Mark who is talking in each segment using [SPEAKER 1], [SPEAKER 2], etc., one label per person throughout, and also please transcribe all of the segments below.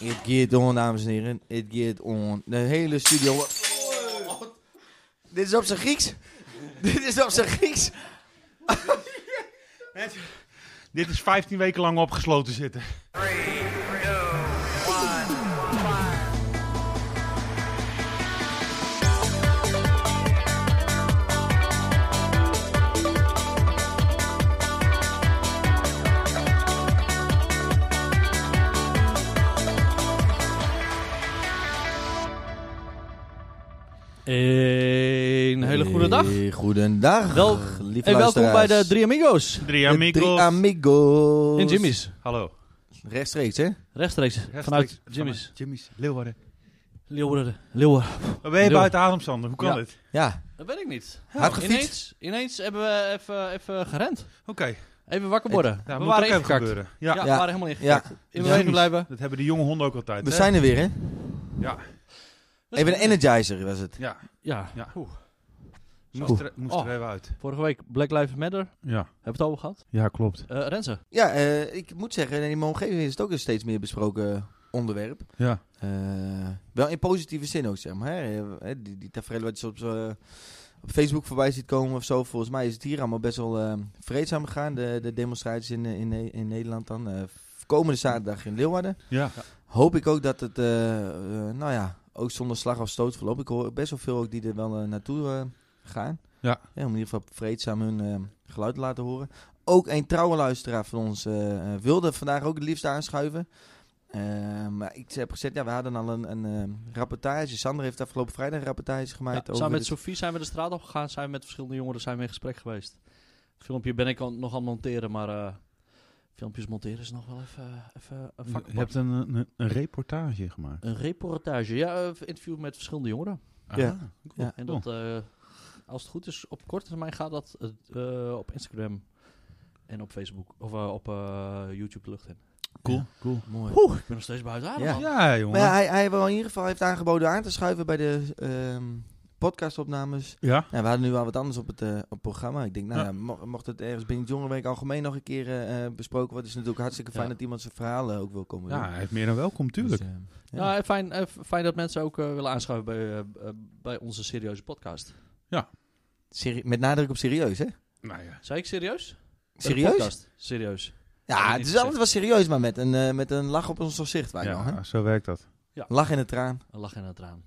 [SPEAKER 1] It get on, dames en heren. It get on. De hele studio. Dit is op zijn Grieks. Dit is op zijn Grieks.
[SPEAKER 2] Dit is 15 weken lang opgesloten zitten.
[SPEAKER 3] Een hele goede dag.
[SPEAKER 1] Hey, Goedendag.
[SPEAKER 3] Wel-
[SPEAKER 1] lieve
[SPEAKER 3] En welkom bij
[SPEAKER 1] luisteraars.
[SPEAKER 3] de Drie Amigos
[SPEAKER 2] Drie
[SPEAKER 1] De
[SPEAKER 2] amigos.
[SPEAKER 1] Drie amigos.
[SPEAKER 3] in Jimmy's.
[SPEAKER 2] Hallo.
[SPEAKER 1] Rechtstreeks, hè?
[SPEAKER 3] Rechtstreeks vanuit Jimmy's.
[SPEAKER 2] Jimmy's, Leeuwarden.
[SPEAKER 3] Leeuwarden. Leeuwarden.
[SPEAKER 2] Waar Oh, ben je
[SPEAKER 3] Leeuw-
[SPEAKER 2] buiten adem, Sander? Hoe kan
[SPEAKER 3] Ja.
[SPEAKER 2] dit?
[SPEAKER 1] Ja.
[SPEAKER 3] Dat weet ik niet. Nou,
[SPEAKER 1] Hard gefietst.
[SPEAKER 3] Ineens, ineens hebben we even, even gerend.
[SPEAKER 2] Oké,
[SPEAKER 3] Even wakker worden.
[SPEAKER 2] daar moet
[SPEAKER 3] we
[SPEAKER 2] ook
[SPEAKER 3] waren
[SPEAKER 2] even
[SPEAKER 3] ingekakt.
[SPEAKER 2] gebeuren.
[SPEAKER 3] Ja,
[SPEAKER 2] Ja.
[SPEAKER 3] we
[SPEAKER 1] Ja.
[SPEAKER 3] waren helemaal
[SPEAKER 1] Ja.
[SPEAKER 3] ingekakt. In beweging blijven.
[SPEAKER 2] Dat hebben de jonge honden ook altijd.
[SPEAKER 1] We
[SPEAKER 2] hè?
[SPEAKER 1] zijn er weer, hè?
[SPEAKER 2] Ja,
[SPEAKER 1] Even een energizer was het.
[SPEAKER 2] ja.
[SPEAKER 3] Ja.
[SPEAKER 2] Ja.
[SPEAKER 3] Oeh.
[SPEAKER 2] Moest, er, moest
[SPEAKER 3] Oh.
[SPEAKER 2] er even uit.
[SPEAKER 3] Vorige week Black Lives Matter. Hebben
[SPEAKER 2] Ja,
[SPEAKER 3] we het over gehad?
[SPEAKER 2] ja klopt.
[SPEAKER 3] Eh Renze.
[SPEAKER 1] Ja, eh, ik moet zeggen, in mijn omgeving is het ook een steeds meer besproken onderwerp.
[SPEAKER 2] Ja.
[SPEAKER 1] Eh, wel in positieve zin ook, zeg maar. Hè? Eh, Die, die tafereel wat je soms eh, op Facebook voorbij ziet komen of zo. Volgens mij is het hier allemaal best wel eh, vreedzaam gegaan. De, de demonstraties in, eh, in, Ne- in Nederland dan. Eh, komende zaterdag in Leeuwarden.
[SPEAKER 2] Ja.
[SPEAKER 1] Hoop ik ook dat het, eh, eh, nou ja, ook zonder slag of stoot verloopt. Ik hoor best wel veel ook die er wel eh, naartoe eh, gaan.
[SPEAKER 2] Ja.
[SPEAKER 1] Om in ieder geval vreedzaam hun eh, geluid te laten horen. Ook een trouwe luisteraar van ons eh, eh, wilde vandaag ook het liefst aanschuiven. Eh, maar ik heb gezegd, ja, we hadden al een, een eh, rapportage. Sander heeft afgelopen vrijdag een rapportage
[SPEAKER 3] Ja,
[SPEAKER 1] gemaakt. over
[SPEAKER 3] samen met
[SPEAKER 1] dit-
[SPEAKER 3] Sophie zijn we de straat op gegaan. Zijn we met verschillende jongeren zijn we in gesprek geweest. Het filmpje ben ik al- nog aan het monteren, maar eh, filmpjes monteren is nog wel even, even een vak.
[SPEAKER 2] Je hebt een, een, een reportage gemaakt.
[SPEAKER 3] Een reportage, ja, eh, interview met verschillende jongeren.
[SPEAKER 1] Ja.
[SPEAKER 2] Ah,
[SPEAKER 1] Ja.
[SPEAKER 3] En dat, eh, als het goed is, op korte termijn gaat dat eh, eh, op Instagram en op Facebook of eh, op eh, YouTube de lucht in.
[SPEAKER 2] Cool. cool.
[SPEAKER 1] Mooi.
[SPEAKER 3] Oeh, ik ben nog steeds buiten adem.
[SPEAKER 1] Ja.
[SPEAKER 3] man.
[SPEAKER 2] Ja, jongen.
[SPEAKER 1] Maar ja, hij, hij heeft wel in ieder geval heeft aangeboden aan te schuiven bij de ehm, podcastopnames.
[SPEAKER 2] Ja.
[SPEAKER 1] Ja, we hadden nu al wat anders op het, eh, op het programma. Ik denk, nou
[SPEAKER 2] Ja.
[SPEAKER 1] ja, mo- mocht het ergens binnen het Jongerenweek algemeen nog een keer eh, eh, besproken worden, is het natuurlijk hartstikke fijn
[SPEAKER 3] Ja.
[SPEAKER 1] dat iemand zijn verhalen ook wil komen
[SPEAKER 2] ja,
[SPEAKER 1] doen.
[SPEAKER 2] hij is meer dan welkom, tuurlijk.
[SPEAKER 1] Dus, eh, ja.
[SPEAKER 3] Nou, eh, fijn, eh, f- fijn dat mensen ook eh, willen aanschuiven bij, eh, eh, bij onze serieuze podcast.
[SPEAKER 1] Seri- met nadruk op serieus, hè?
[SPEAKER 2] Nou ja.
[SPEAKER 3] Zei ik serieus? Bij de
[SPEAKER 1] Serieus?
[SPEAKER 3] podcast. Serieus.
[SPEAKER 1] Ja, het
[SPEAKER 3] Niet
[SPEAKER 1] is altijd wel serieus, maar met een, eh, met een lach op ons gezicht. Wij wel, hè?
[SPEAKER 2] ja, zo werkt dat.
[SPEAKER 1] Lach in de traan.
[SPEAKER 3] Een lach en een traan.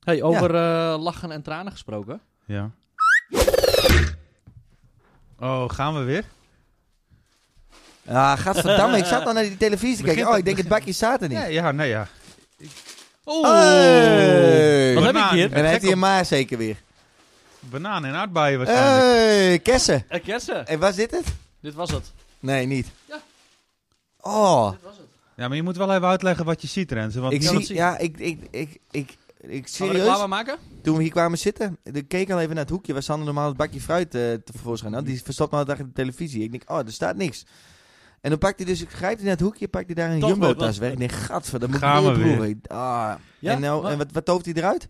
[SPEAKER 3] Hey, over eh, lachen en tranen gesproken.
[SPEAKER 2] Ja. Oh, gaan we weer?
[SPEAKER 1] Ja, gadverdamme, ik zat al naar die televisie te kijken.
[SPEAKER 2] Begint-
[SPEAKER 1] Oh, ik denk het bakje staat er niet.
[SPEAKER 2] Ja, ja, nee, ja.
[SPEAKER 3] Oeh!
[SPEAKER 1] Hey!
[SPEAKER 3] Wat heb ik
[SPEAKER 2] Banaan.
[SPEAKER 3] hier?
[SPEAKER 1] En hij heeft
[SPEAKER 2] Gek
[SPEAKER 1] hij een
[SPEAKER 2] op-
[SPEAKER 1] maar zeker weer.
[SPEAKER 2] Banaan en aardbeien waarschijnlijk.
[SPEAKER 1] Eh. Hey, kessen.
[SPEAKER 3] Eh, kersen.
[SPEAKER 1] En was dit het?
[SPEAKER 3] Dit was het.
[SPEAKER 1] Nee, niet.
[SPEAKER 3] Ja.
[SPEAKER 1] Oh.
[SPEAKER 3] Dit was het.
[SPEAKER 2] Ja, maar je moet wel even uitleggen wat je ziet, Renze. Want
[SPEAKER 1] Ik
[SPEAKER 3] kan
[SPEAKER 1] zie,
[SPEAKER 3] het zien.
[SPEAKER 1] ja, ik, ik, ik, ik, ik
[SPEAKER 3] Gaan we er
[SPEAKER 1] serieus,
[SPEAKER 3] reclame maken?
[SPEAKER 1] toen we hier kwamen zitten, ik keek al even naar het hoekje waar Sander normaal het bakje fruit eh, tevoorschijn had. Die verstopt me altijd achter de televisie. Ik denk, oh, er staat niks. En dan pakt hij dus, grijpt hij naar het hoekje, pakt hij daar een
[SPEAKER 3] Toch weer,
[SPEAKER 1] jumbo-tas
[SPEAKER 3] want-
[SPEAKER 1] weg. Ik denk, gadver, dat moet ik
[SPEAKER 2] Gaan
[SPEAKER 1] weer
[SPEAKER 2] we weer.
[SPEAKER 1] proeven. Ah. en, nou,
[SPEAKER 3] maar-
[SPEAKER 1] en wat, wat tovert hij eruit?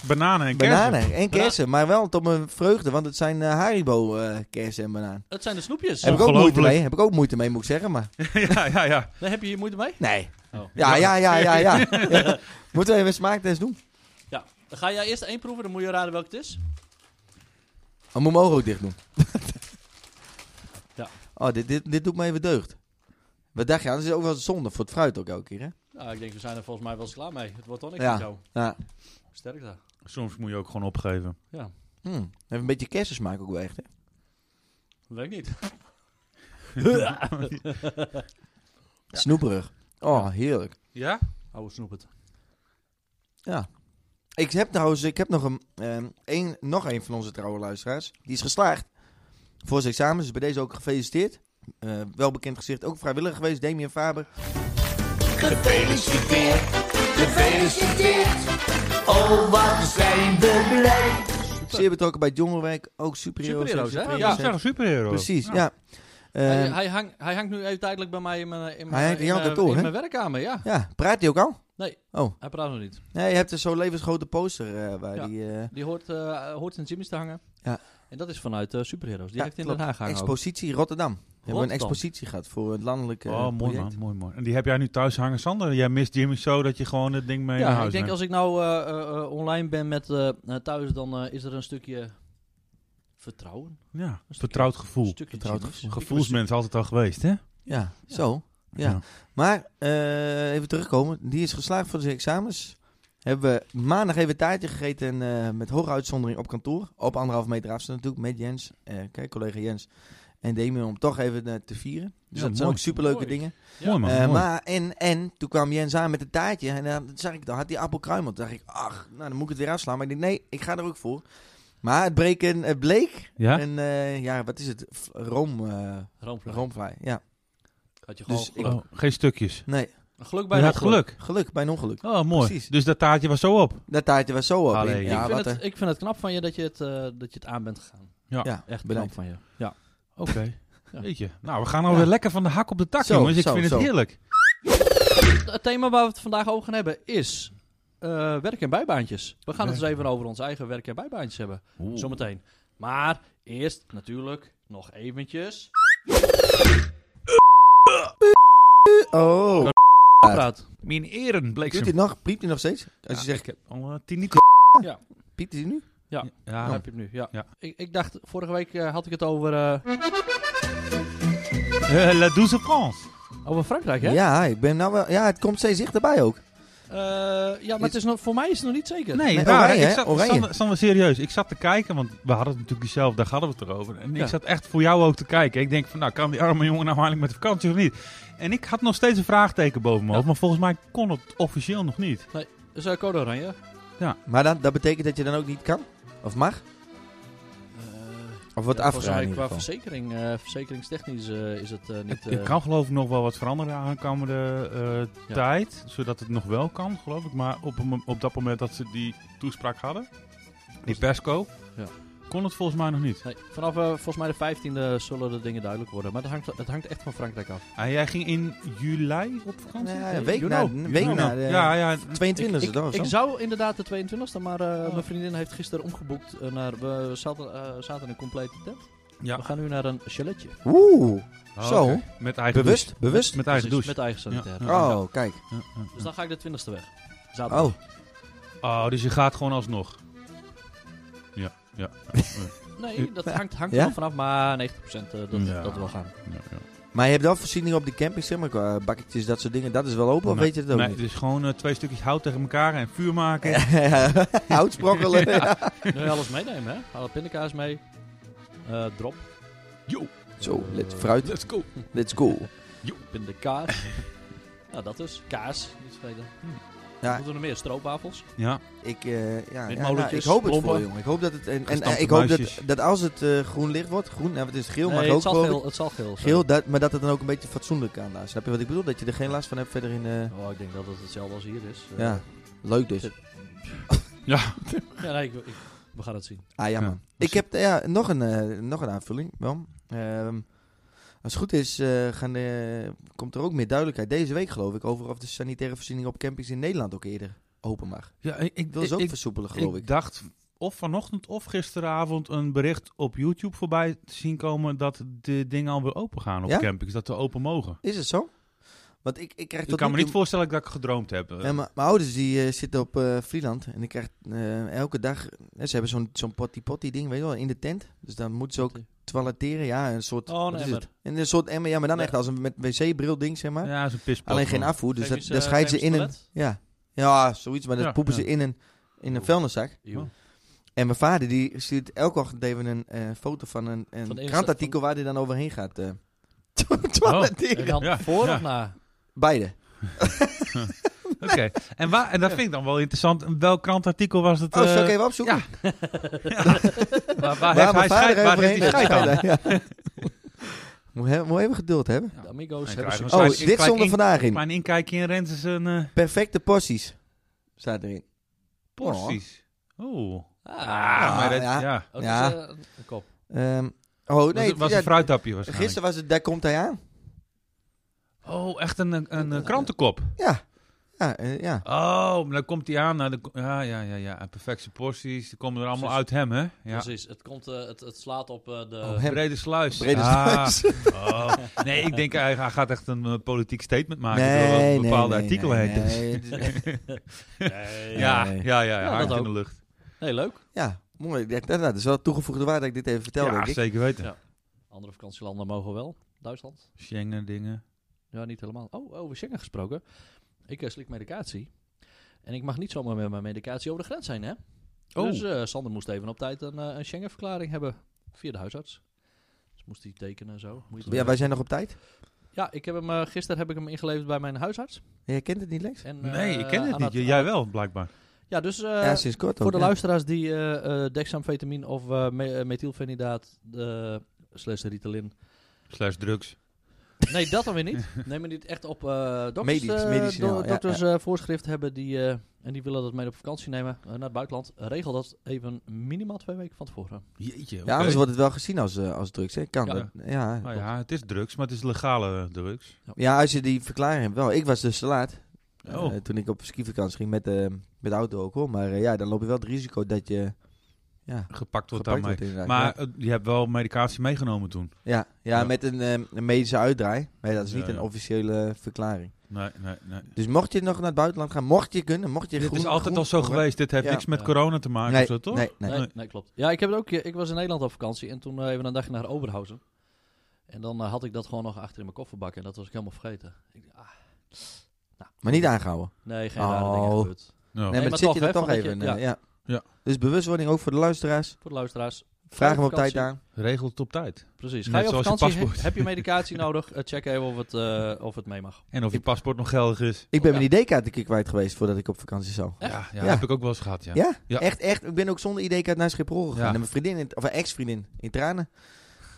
[SPEAKER 2] bananen en kersen.
[SPEAKER 1] Bananen en kersen, maar wel tot mijn vreugde, want het zijn eh, Haribo eh, kersen en banaan.
[SPEAKER 3] Het zijn de snoepjes.
[SPEAKER 1] Heb ik ook moeite
[SPEAKER 2] Ongelooflijk.
[SPEAKER 1] mee, heb ik ook moeite mee, moet ik zeggen, maar
[SPEAKER 2] ja, ja, ja.
[SPEAKER 3] Daar heb je je moeite mee?
[SPEAKER 1] nee.
[SPEAKER 3] Oh.
[SPEAKER 1] Ja, ja, ja, ja, ja. ja. Moeten we even een smaaktest doen?
[SPEAKER 3] Ja. Dan ga jij eerst één proeven, dan moet je raden welke het is.
[SPEAKER 1] Dan Oh, moet ik mijn ogen ook dicht doen.
[SPEAKER 3] Ja.
[SPEAKER 1] Oh, dit, dit, dit doet me even deugd. Wat dacht je? Dat is ook wel eens zonde voor het fruit ook elke keer, hè?
[SPEAKER 3] Nou, ik denk, we zijn er volgens mij wel eens klaar mee. Het wordt toch niks
[SPEAKER 1] Ja.
[SPEAKER 3] met jou.
[SPEAKER 1] Ja.
[SPEAKER 3] Sterkte.
[SPEAKER 2] Soms moet je ook gewoon opgeven.
[SPEAKER 3] Ja,
[SPEAKER 1] Hm. Even een beetje kersensmaak ook wel echt, hè?
[SPEAKER 3] dat weet ik niet.
[SPEAKER 1] Snoeperig. Oh, heerlijk.
[SPEAKER 2] Ja?
[SPEAKER 3] Oude snoepert.
[SPEAKER 1] Ja. Ik heb trouwens, ik heb nog een, ehm, één- nog een van onze trouwe luisteraars. Die is geslaagd voor zijn examen. Dus bij deze ook gefeliciteerd. Eh welbekend gezicht, ook vrijwilliger geweest, Damien Faber.
[SPEAKER 4] Gefeliciteerd, gefeliciteerd. Oh, wat zijn we blij.
[SPEAKER 1] Zeer betrokken bij het jongerenwerk, ook superheroes.
[SPEAKER 3] Superheroes, hè?
[SPEAKER 2] Ja,
[SPEAKER 3] Ja.
[SPEAKER 2] ik zeg een superhero.
[SPEAKER 1] Precies, ja.
[SPEAKER 3] hij,
[SPEAKER 1] Ehm,
[SPEAKER 3] eh, hij, hang- hij hangt nu even tijdelijk bij mij in mijn, in
[SPEAKER 1] Hij hangt
[SPEAKER 3] mijn,
[SPEAKER 1] in
[SPEAKER 3] in
[SPEAKER 1] jouw
[SPEAKER 3] mijn,
[SPEAKER 1] kantoor,
[SPEAKER 3] in
[SPEAKER 1] hè?
[SPEAKER 3] mijn werkkamer, ja.
[SPEAKER 1] ja, praat hij ook al?
[SPEAKER 3] Nee.
[SPEAKER 1] Oh,
[SPEAKER 3] Hij praat nog niet.
[SPEAKER 1] nee, je hebt er zo'n levensgrote poster eh, waar
[SPEAKER 3] Ja.
[SPEAKER 1] die eh,
[SPEAKER 3] Die hoort, eh, hoort in Jimmy's te hangen.
[SPEAKER 1] Ja.
[SPEAKER 3] En dat is vanuit eh Superheroes. Die
[SPEAKER 1] Ja,
[SPEAKER 3] heeft in
[SPEAKER 1] klopt.
[SPEAKER 3] Den Haag hangen ook.
[SPEAKER 1] expositie Rotterdam. We hebben een
[SPEAKER 3] Rotterdam.
[SPEAKER 1] expositie gehad voor het landelijke eh,
[SPEAKER 2] oh, mooi
[SPEAKER 1] project.
[SPEAKER 2] man, mooi, mooi. En die heb jij nu thuis hangen, Sander. Jij mist Jimmy zo dat je gewoon het ding mee naar
[SPEAKER 3] Ja,
[SPEAKER 2] huis
[SPEAKER 3] ik denk
[SPEAKER 2] neemt.
[SPEAKER 3] als ik nou eh, eh, eh, online ben met eh, eh, thuis, dan eh, is er een stukje vertrouwen.
[SPEAKER 2] Ja, vertrouwd
[SPEAKER 3] Een
[SPEAKER 2] gevoel.
[SPEAKER 3] stukje
[SPEAKER 1] Vertrouwd
[SPEAKER 3] Jimmy's.
[SPEAKER 1] gevoel.
[SPEAKER 2] Gevoelsmens altijd al geweest, hè?
[SPEAKER 1] Ja, zo. Ja. Maar, eh, even terugkomen. Die is geslaagd voor zijn examens. Hebben we maandag even taartje gegeten en, eh, met hoge uitzondering op kantoor. Op anderhalf meter afstand natuurlijk, met Jens. eh, kijk, collega Jens. En Damien om toch even eh, te vieren. Dus dat
[SPEAKER 2] Ja,
[SPEAKER 1] zijn
[SPEAKER 2] mooi.
[SPEAKER 1] ook superleuke
[SPEAKER 3] Mooi.
[SPEAKER 1] dingen.
[SPEAKER 3] Ja.
[SPEAKER 2] Mooi man,
[SPEAKER 1] Eh,
[SPEAKER 2] mooi.
[SPEAKER 1] maar, en, en, toen kwam Jens aan met het taartje. En dan zag ik, dan had hij appelkruimel. Toen dacht ik, ach, nou dan moet ik het weer afslaan. Maar ik denk, nee, ik ga er ook voor. Maar het, breek en, het bleek
[SPEAKER 2] Ja?
[SPEAKER 1] een, eh, ja, wat is het? F- Room, eh
[SPEAKER 3] Roomvlaag.
[SPEAKER 1] roomvlaai. Ja,
[SPEAKER 3] Had je gewoon
[SPEAKER 1] Dus ik-
[SPEAKER 3] geluk.
[SPEAKER 2] Oh, geen stukjes.
[SPEAKER 1] nee,
[SPEAKER 3] Geluk bij
[SPEAKER 2] Je
[SPEAKER 3] dat
[SPEAKER 2] had geluk.
[SPEAKER 1] geluk bij een ongeluk.
[SPEAKER 2] Oh, mooi.
[SPEAKER 1] Precies.
[SPEAKER 2] Dus dat taartje was zo op.
[SPEAKER 1] Dat taartje was zo op.
[SPEAKER 2] Allee.
[SPEAKER 1] Ja,
[SPEAKER 3] ik, vind
[SPEAKER 1] wat
[SPEAKER 3] het,
[SPEAKER 1] een-
[SPEAKER 3] ik vind het knap van je dat je het, eh, dat je het aan bent gegaan.
[SPEAKER 1] ja,
[SPEAKER 3] Echt
[SPEAKER 1] bedankt.
[SPEAKER 3] knap van je. Ja.
[SPEAKER 2] Oké.
[SPEAKER 3] Ja.
[SPEAKER 2] Weet je. Nou, we gaan alweer
[SPEAKER 1] Ja.
[SPEAKER 2] lekker van de hak op de tak,
[SPEAKER 1] Zo,
[SPEAKER 2] jongens. Ik
[SPEAKER 1] zo,
[SPEAKER 2] vind
[SPEAKER 1] zo.
[SPEAKER 2] het heerlijk.
[SPEAKER 3] Het thema waar we het vandaag over gaan hebben is eh, werk- en bijbaantjes. We gaan het eens
[SPEAKER 2] Werk-
[SPEAKER 3] even over ons eigen werk- en bijbaantjes hebben. Zometeen. Maar eerst natuurlijk nog eventjes...
[SPEAKER 1] Oh,
[SPEAKER 3] Praat.
[SPEAKER 2] Mijn eren bleek
[SPEAKER 1] doet
[SPEAKER 2] ze.
[SPEAKER 1] hij nog? Piept hij nog steeds? Als je
[SPEAKER 2] Ja,
[SPEAKER 1] zegt,
[SPEAKER 2] ik heb al eh, tien niet.
[SPEAKER 1] piept hij nu?
[SPEAKER 3] Daar
[SPEAKER 2] Ja,
[SPEAKER 3] heb je hem nu, ja.
[SPEAKER 2] Ja.
[SPEAKER 3] Ik, ik dacht, vorige week eh, had ik het over, eh,
[SPEAKER 2] Eh, La douce France.
[SPEAKER 3] over Frankrijk, hè?
[SPEAKER 1] Ja? ik ben nou wel... Ja, het komt steeds dichterbij ook.
[SPEAKER 3] Eh, ja, maar het is nog, voor mij is het nog niet zeker.
[SPEAKER 2] Nee,
[SPEAKER 1] Nee,
[SPEAKER 2] waar,
[SPEAKER 1] oranje,
[SPEAKER 2] ik
[SPEAKER 1] hè?
[SPEAKER 2] zat,
[SPEAKER 1] Oranje.
[SPEAKER 2] Sander- Sander, serieus. Ik zat te kijken, want we hadden het natuurlijk zelf, daar hadden we het erover. En
[SPEAKER 3] Ja.
[SPEAKER 2] ik zat echt voor jou ook te kijken. Ik denk van, nou, kan die arme jongen nou eigenlijk met de vakantie of niet? En ik had nog steeds een vraagteken boven mijn
[SPEAKER 3] Ja.
[SPEAKER 2] hoofd, maar volgens mij kon het officieel nog niet.
[SPEAKER 3] Dus eh, code oranje.
[SPEAKER 1] Maar dan, dat betekent dat je dan ook niet kan? Of mag? Of wordt
[SPEAKER 3] Ja, volgens mij
[SPEAKER 1] afgeraden in ieder
[SPEAKER 3] qua
[SPEAKER 1] geval?
[SPEAKER 3] verzekering, eh, verzekeringstechnisch eh, is het eh, niet...
[SPEAKER 2] Het- het
[SPEAKER 3] eh,
[SPEAKER 2] kan geloof ik nog wel wat veranderen aankomende eh
[SPEAKER 3] Ja.
[SPEAKER 2] tijd, zodat het nog wel kan, geloof ik. Maar op, een mom- op dat moment dat ze die toespraak hadden, die persco,
[SPEAKER 3] Ja.
[SPEAKER 2] kon het volgens mij nog niet.
[SPEAKER 3] nee, vanaf eh, volgens mij de 15e zullen de dingen duidelijk worden. Maar dat hangt, het hangt echt van Frankrijk af.
[SPEAKER 2] Ah, jij ging in juli op vakantie?
[SPEAKER 1] Ja, een week
[SPEAKER 2] You
[SPEAKER 1] na-
[SPEAKER 2] know,
[SPEAKER 1] een
[SPEAKER 2] you
[SPEAKER 1] week
[SPEAKER 2] know.
[SPEAKER 1] na de-
[SPEAKER 2] Ja, ja,
[SPEAKER 1] 22 is
[SPEAKER 3] ik,
[SPEAKER 1] het dan of
[SPEAKER 3] ik
[SPEAKER 1] zo?
[SPEAKER 3] zou inderdaad de 22e, maar eh,
[SPEAKER 2] Oh.
[SPEAKER 3] mijn vriendin heeft gisteren omgeboekt. eh, naar, we zaten, eh, zaten in een complete tent.
[SPEAKER 2] ja.
[SPEAKER 3] We gaan nu naar een chaletje.
[SPEAKER 1] Oeh,
[SPEAKER 2] Oh,
[SPEAKER 1] Zo.
[SPEAKER 2] oké. Met eigen
[SPEAKER 1] bewust,
[SPEAKER 2] douche.
[SPEAKER 1] bewust.
[SPEAKER 2] Met eigen
[SPEAKER 3] Precies,
[SPEAKER 2] douche.
[SPEAKER 3] Dus Met eigen sanitair.
[SPEAKER 2] Ja.
[SPEAKER 3] Ja.
[SPEAKER 1] Oh, kijk.
[SPEAKER 2] Ja, ja,
[SPEAKER 3] Dus dan ga ik de 20e weg. Zaterdag.
[SPEAKER 1] Oh,
[SPEAKER 2] ja. Oh, dus je gaat gewoon alsnog. Ja, ja.
[SPEAKER 3] Nee, dat hangt, hangt
[SPEAKER 1] Ja?
[SPEAKER 3] er wel vanaf, maar 90% eh, dat,
[SPEAKER 2] Ja.
[SPEAKER 3] dat wil gaan.
[SPEAKER 2] ja, ja.
[SPEAKER 1] maar je hebt wel voorzieningen op die camping, zeg maar, qua bakketjes, dat soort dingen. Dat is wel open, of
[SPEAKER 2] Nee,
[SPEAKER 1] weet je dat ook
[SPEAKER 2] nee,
[SPEAKER 1] niet?
[SPEAKER 2] het is gewoon eh, twee stukjes hout tegen elkaar en vuur maken.
[SPEAKER 1] Hout sprokkelen.
[SPEAKER 3] Nu alles meenemen, hè? Alle pindakaas mee. Eh, drop.
[SPEAKER 2] Yo,
[SPEAKER 1] Zo, let's fruit,
[SPEAKER 2] let's go.
[SPEAKER 1] let's go.
[SPEAKER 3] Pindakaas. nou, dat dus. Kaas, niet vergeten.
[SPEAKER 1] Ja.
[SPEAKER 3] Moeten we nog meer? Stroopwafels?
[SPEAKER 2] Ja,
[SPEAKER 1] Ik, eh, ja,
[SPEAKER 3] Met
[SPEAKER 1] ja, nou,
[SPEAKER 3] molentjes,
[SPEAKER 1] ik hoop het
[SPEAKER 3] klompen.
[SPEAKER 1] voor, jongen. Ik hoop dat het. En, en
[SPEAKER 2] Gestampte
[SPEAKER 1] eh, ik hoop dat,
[SPEAKER 2] muisjes.
[SPEAKER 1] dat als het eh, groen licht wordt, groen, nou, het is geel,
[SPEAKER 3] Nee,
[SPEAKER 1] maar
[SPEAKER 3] het
[SPEAKER 1] ook
[SPEAKER 3] zal
[SPEAKER 1] geloof
[SPEAKER 3] geel.
[SPEAKER 1] ik.
[SPEAKER 3] Het zal geel zijn.
[SPEAKER 1] Geel, dat, maar dat het dan ook een beetje fatsoenlijk aan laat. Snap je wat ik bedoel? Dat je er geen last van hebt verder in. eh,
[SPEAKER 3] Oh, ik denk dat het hetzelfde als hier is. Eh,
[SPEAKER 1] ja, leuk dus.
[SPEAKER 3] ja, nee, ik, ik- we gaan het zien.
[SPEAKER 1] Ah ja,
[SPEAKER 2] Ja,
[SPEAKER 1] man. Ik heb eh, ja, nog, een, eh, nog een aanvulling, wel. Ehm, als het goed is, eh, gaan de- komt er ook meer duidelijkheid deze week, geloof ik, over of de sanitaire voorziening op campings in Nederland ook eerder open mag.
[SPEAKER 2] ja ik,
[SPEAKER 1] Ik wil ze ook versoepelen, geloof ik.
[SPEAKER 2] Ik dacht of vanochtend of gisteravond een bericht op YouTube voorbij te zien komen dat de dingen alweer open gaan op
[SPEAKER 1] Ja?
[SPEAKER 2] campings. Dat we open mogen.
[SPEAKER 1] Is het zo? Want ik, ik krijg
[SPEAKER 2] Ik
[SPEAKER 1] tot
[SPEAKER 2] kan
[SPEAKER 1] nu
[SPEAKER 2] me
[SPEAKER 1] toe-
[SPEAKER 2] niet voorstellen dat ik gedroomd heb.
[SPEAKER 1] Ja, maar mijn ouders die eh, zitten op eh Vlieland en ik krijg eh, elke dag, eh, ze hebben zo'n zo'n potty potty ding, weet je wel, in de tent. Dus dan moeten ze ook toiletteren, ja, een soort,
[SPEAKER 3] Oh,
[SPEAKER 1] wat
[SPEAKER 3] nee,
[SPEAKER 1] is
[SPEAKER 3] maar.
[SPEAKER 1] het? En een soort emmer, ja, maar dan
[SPEAKER 3] Nee.
[SPEAKER 1] echt als een met wc-bril ding, zeg maar.
[SPEAKER 2] Ja, dat is een pispot.
[SPEAKER 1] Alleen geen
[SPEAKER 2] man.
[SPEAKER 1] afvoer, dus
[SPEAKER 3] Geef
[SPEAKER 1] dat,
[SPEAKER 3] eens,
[SPEAKER 1] daar
[SPEAKER 3] eh,
[SPEAKER 1] scheiden ze
[SPEAKER 3] geef
[SPEAKER 1] in
[SPEAKER 3] eens
[SPEAKER 1] een, ja, ja, zoiets, maar dat
[SPEAKER 2] Ja,
[SPEAKER 1] poepen
[SPEAKER 2] ja.
[SPEAKER 1] ze in een, in een
[SPEAKER 3] Oeh.
[SPEAKER 1] vuilniszak. Oh.
[SPEAKER 3] Eeuw.
[SPEAKER 1] En mijn vader die stuurt elke ochtend even een eh, foto van een, een
[SPEAKER 3] Van de eerste-
[SPEAKER 1] krantartikel waar hij dan overheen gaat. eh
[SPEAKER 2] Oh.
[SPEAKER 1] toiletteren.
[SPEAKER 3] En dan
[SPEAKER 2] Ja,
[SPEAKER 3] voor
[SPEAKER 2] ja.
[SPEAKER 3] of na?
[SPEAKER 1] Beide.
[SPEAKER 2] Oké, en, waar- en dat vind ik dan wel interessant. Welk krantartikel was het?
[SPEAKER 1] Oh,
[SPEAKER 2] eh,
[SPEAKER 1] zal ik even opzoeken?
[SPEAKER 2] ja, waar, waar
[SPEAKER 1] Waar
[SPEAKER 2] heeft
[SPEAKER 1] mijn
[SPEAKER 2] hij
[SPEAKER 1] vader
[SPEAKER 2] scheid, waar heeft
[SPEAKER 1] overheen
[SPEAKER 2] hij scheid aan?
[SPEAKER 1] gaat. Ja. Moet, he- moet even geduld hebben.
[SPEAKER 3] De Amigo's
[SPEAKER 2] Dus Hij
[SPEAKER 3] hebben
[SPEAKER 2] krijgt
[SPEAKER 3] succes.
[SPEAKER 2] een
[SPEAKER 1] Oh,
[SPEAKER 2] Klein-
[SPEAKER 1] dit
[SPEAKER 2] klein
[SPEAKER 1] stond er
[SPEAKER 2] in-
[SPEAKER 1] vandaag in.
[SPEAKER 2] Maar een inkijkje in Rens is
[SPEAKER 1] Oh,
[SPEAKER 2] een eh
[SPEAKER 1] Perfecte porties. Staat erin.
[SPEAKER 2] porties. Oeh.
[SPEAKER 3] Ah,
[SPEAKER 2] Ah, maar dat,
[SPEAKER 1] ja.
[SPEAKER 2] ja.
[SPEAKER 3] oh, dat is,
[SPEAKER 1] Ja.
[SPEAKER 3] eh, een kop.
[SPEAKER 1] Ehm, oh,
[SPEAKER 2] Was,
[SPEAKER 1] nee.
[SPEAKER 2] het- was
[SPEAKER 1] ja,
[SPEAKER 2] een fruittapje waarschijnlijk.
[SPEAKER 1] gisteren was het, daar komt hij aan.
[SPEAKER 2] Oh, echt een, een, een eh, krantenkop.
[SPEAKER 1] Ja. Ja, eh, ja.
[SPEAKER 2] Oh, maar dan komt hij aan. Naar de, ko- ja, ja, ja, ja. En Perfecte porties. Die komen er allemaal uit hem, hè? Ja.
[SPEAKER 3] Precies, het, komt, eh, het, het slaat op eh, de...
[SPEAKER 1] Oh, hem.
[SPEAKER 2] Brede sluis.
[SPEAKER 1] Brede
[SPEAKER 2] Ah,
[SPEAKER 1] sluis.
[SPEAKER 2] oh. Nee, ik denk hij, hij gaat echt een eh, politiek statement maken.
[SPEAKER 1] Nee,
[SPEAKER 2] door
[SPEAKER 1] nee,
[SPEAKER 2] een bepaalde
[SPEAKER 1] nee,
[SPEAKER 2] artikel
[SPEAKER 1] nee,
[SPEAKER 2] heen.
[SPEAKER 1] nee, het is-
[SPEAKER 3] Nee.
[SPEAKER 2] Ja, ja,
[SPEAKER 1] Nee.
[SPEAKER 2] ja, ja,
[SPEAKER 3] Ja,
[SPEAKER 2] hangt
[SPEAKER 3] dat
[SPEAKER 2] in de
[SPEAKER 3] ook.
[SPEAKER 2] lucht.
[SPEAKER 3] Hey, leuk.
[SPEAKER 1] Ja, mooi. Ja, nou, dat dat is wel toegevoegde waarde dat ik dit even vertel,
[SPEAKER 2] ja,
[SPEAKER 1] denk ik.
[SPEAKER 2] zeker weten.
[SPEAKER 3] Ja. Andere vakantielanden mogen wel. Duitsland?
[SPEAKER 2] Schengen dingen.
[SPEAKER 3] Ja, niet helemaal. Oh, over Schengen gesproken. Ik eh, slik medicatie. En ik mag niet zomaar met mijn medicatie over de grens zijn, hè?
[SPEAKER 2] Oh.
[SPEAKER 3] Dus eh, Sander moest even op tijd een, eh, een Schengen-verklaring hebben via de huisarts. Dus moest hij tekenen en zo. Moet je het
[SPEAKER 1] Ja,
[SPEAKER 3] doen.
[SPEAKER 1] wij zijn nog op tijd.
[SPEAKER 3] ja, ik heb hem, eh, gisteren heb ik hem ingeleverd bij mijn huisarts.
[SPEAKER 1] Jij kent het niet, Lex?
[SPEAKER 3] En,
[SPEAKER 2] nee,
[SPEAKER 3] eh,
[SPEAKER 2] ik ken het
[SPEAKER 3] aan
[SPEAKER 2] niet. Jij wel, blijkbaar.
[SPEAKER 3] Ja, dus eh,
[SPEAKER 1] ja, sinds kort
[SPEAKER 3] voor
[SPEAKER 1] ook,
[SPEAKER 3] de
[SPEAKER 1] ja.
[SPEAKER 3] luisteraars die eh, eh, dexamfetamine of eh me- eh, methylfenidaat eh, slash Ritalin
[SPEAKER 2] Slash drugs.
[SPEAKER 3] Nee, dat dan weer niet. Neem maar niet echt op eh dokters,
[SPEAKER 1] Medisch,
[SPEAKER 3] eh,
[SPEAKER 1] medicinaal,
[SPEAKER 3] do-
[SPEAKER 1] ja,
[SPEAKER 3] dokters eh, voorschrift hebben die, eh, en die willen dat mee op vakantie nemen eh, naar het buitenland. regel dat even minimaal twee weken van tevoren.
[SPEAKER 2] Jeetje,
[SPEAKER 1] Ja, anders wordt het wel gezien als, eh, als drugs, hè? Kan
[SPEAKER 3] Ja.
[SPEAKER 1] dat. Ja.
[SPEAKER 2] Ah ja, het is drugs, maar het is legale eh, drugs.
[SPEAKER 1] Ja, als je die verklaring hebt wel. Ik was dus te laat. eh,
[SPEAKER 2] Oh.
[SPEAKER 1] toen ik op skivakantie ging met, eh, met de auto ook hoor. Maar eh, ja, dan loop je wel het risico dat je ja,
[SPEAKER 2] Gepakt wordt
[SPEAKER 1] gepakt
[SPEAKER 2] daarmee.
[SPEAKER 1] wordt inderdaad.
[SPEAKER 2] Maar
[SPEAKER 1] ja,
[SPEAKER 2] eh, je hebt wel medicatie meegenomen toen.
[SPEAKER 1] ja, ja,
[SPEAKER 2] Ja.
[SPEAKER 1] met een, eh, een medische uitdraai. Maar ja, dat is
[SPEAKER 2] Ja,
[SPEAKER 1] niet
[SPEAKER 2] ja.
[SPEAKER 1] een officiële verklaring.
[SPEAKER 2] Nee, nee, nee.
[SPEAKER 1] Dus mocht je nog naar het buitenland gaan, mocht je kunnen, mocht je
[SPEAKER 2] Dit
[SPEAKER 1] groen-
[SPEAKER 2] is altijd
[SPEAKER 1] groen-
[SPEAKER 2] al zo
[SPEAKER 1] groen-
[SPEAKER 2] geweest. Dit heeft
[SPEAKER 1] Ja.
[SPEAKER 2] niks met
[SPEAKER 3] Ja.
[SPEAKER 2] corona te maken
[SPEAKER 1] Nee,
[SPEAKER 2] of zo, toch?
[SPEAKER 1] Nee, nee.
[SPEAKER 3] Nee,
[SPEAKER 2] Nee.
[SPEAKER 3] nee. klopt. Ja, ik heb het ook. eh, Ik was in Nederland op vakantie en toen eh, even een dagje naar Oberhausen. En dan eh, had ik dat gewoon nog achter in mijn kofferbak en dat was ik helemaal vergeten. Ik dacht, ah,
[SPEAKER 1] Maar niet aangehouden.
[SPEAKER 3] nee, geen rare dingen
[SPEAKER 1] Oh.
[SPEAKER 3] gebeurd.
[SPEAKER 2] Nou,
[SPEAKER 1] Nee, maar,
[SPEAKER 3] maar
[SPEAKER 1] zit
[SPEAKER 3] toch,
[SPEAKER 1] je
[SPEAKER 3] hè,
[SPEAKER 1] er toch
[SPEAKER 3] van dat je-
[SPEAKER 1] even. eh, ja.
[SPEAKER 2] Ja.
[SPEAKER 1] Dus bewustwording ook voor de luisteraars.
[SPEAKER 3] Voor de luisteraars,
[SPEAKER 1] Vraag hem op
[SPEAKER 3] vakantie.
[SPEAKER 1] tijd aan.
[SPEAKER 2] Regel het op tijd.
[SPEAKER 3] precies. Ga
[SPEAKER 2] Net
[SPEAKER 3] je op
[SPEAKER 2] zoals je
[SPEAKER 3] vakantie, he-
[SPEAKER 2] paspoort.
[SPEAKER 3] heb je medicatie nodig? Eh, check even of het, eh, of het mee mag.
[SPEAKER 2] En of je
[SPEAKER 1] Ik-
[SPEAKER 2] paspoort nog geldig is.
[SPEAKER 1] Ik ben
[SPEAKER 3] Oh, Ja.
[SPEAKER 1] mijn ID-kaart een keer kwijt geweest voordat ik op vakantie zou.
[SPEAKER 3] Echt?
[SPEAKER 2] Ja, ja,
[SPEAKER 1] Ja.
[SPEAKER 2] heb ik ook wel eens gehad, ja.
[SPEAKER 1] Ja?
[SPEAKER 2] Ja.
[SPEAKER 1] Echt, echt. Ik ben ook zonder ID-kaart naar Schiphol gegaan.
[SPEAKER 2] Ja.
[SPEAKER 1] En mijn vriendin, in, of mijn ex-vriendin, in tranen.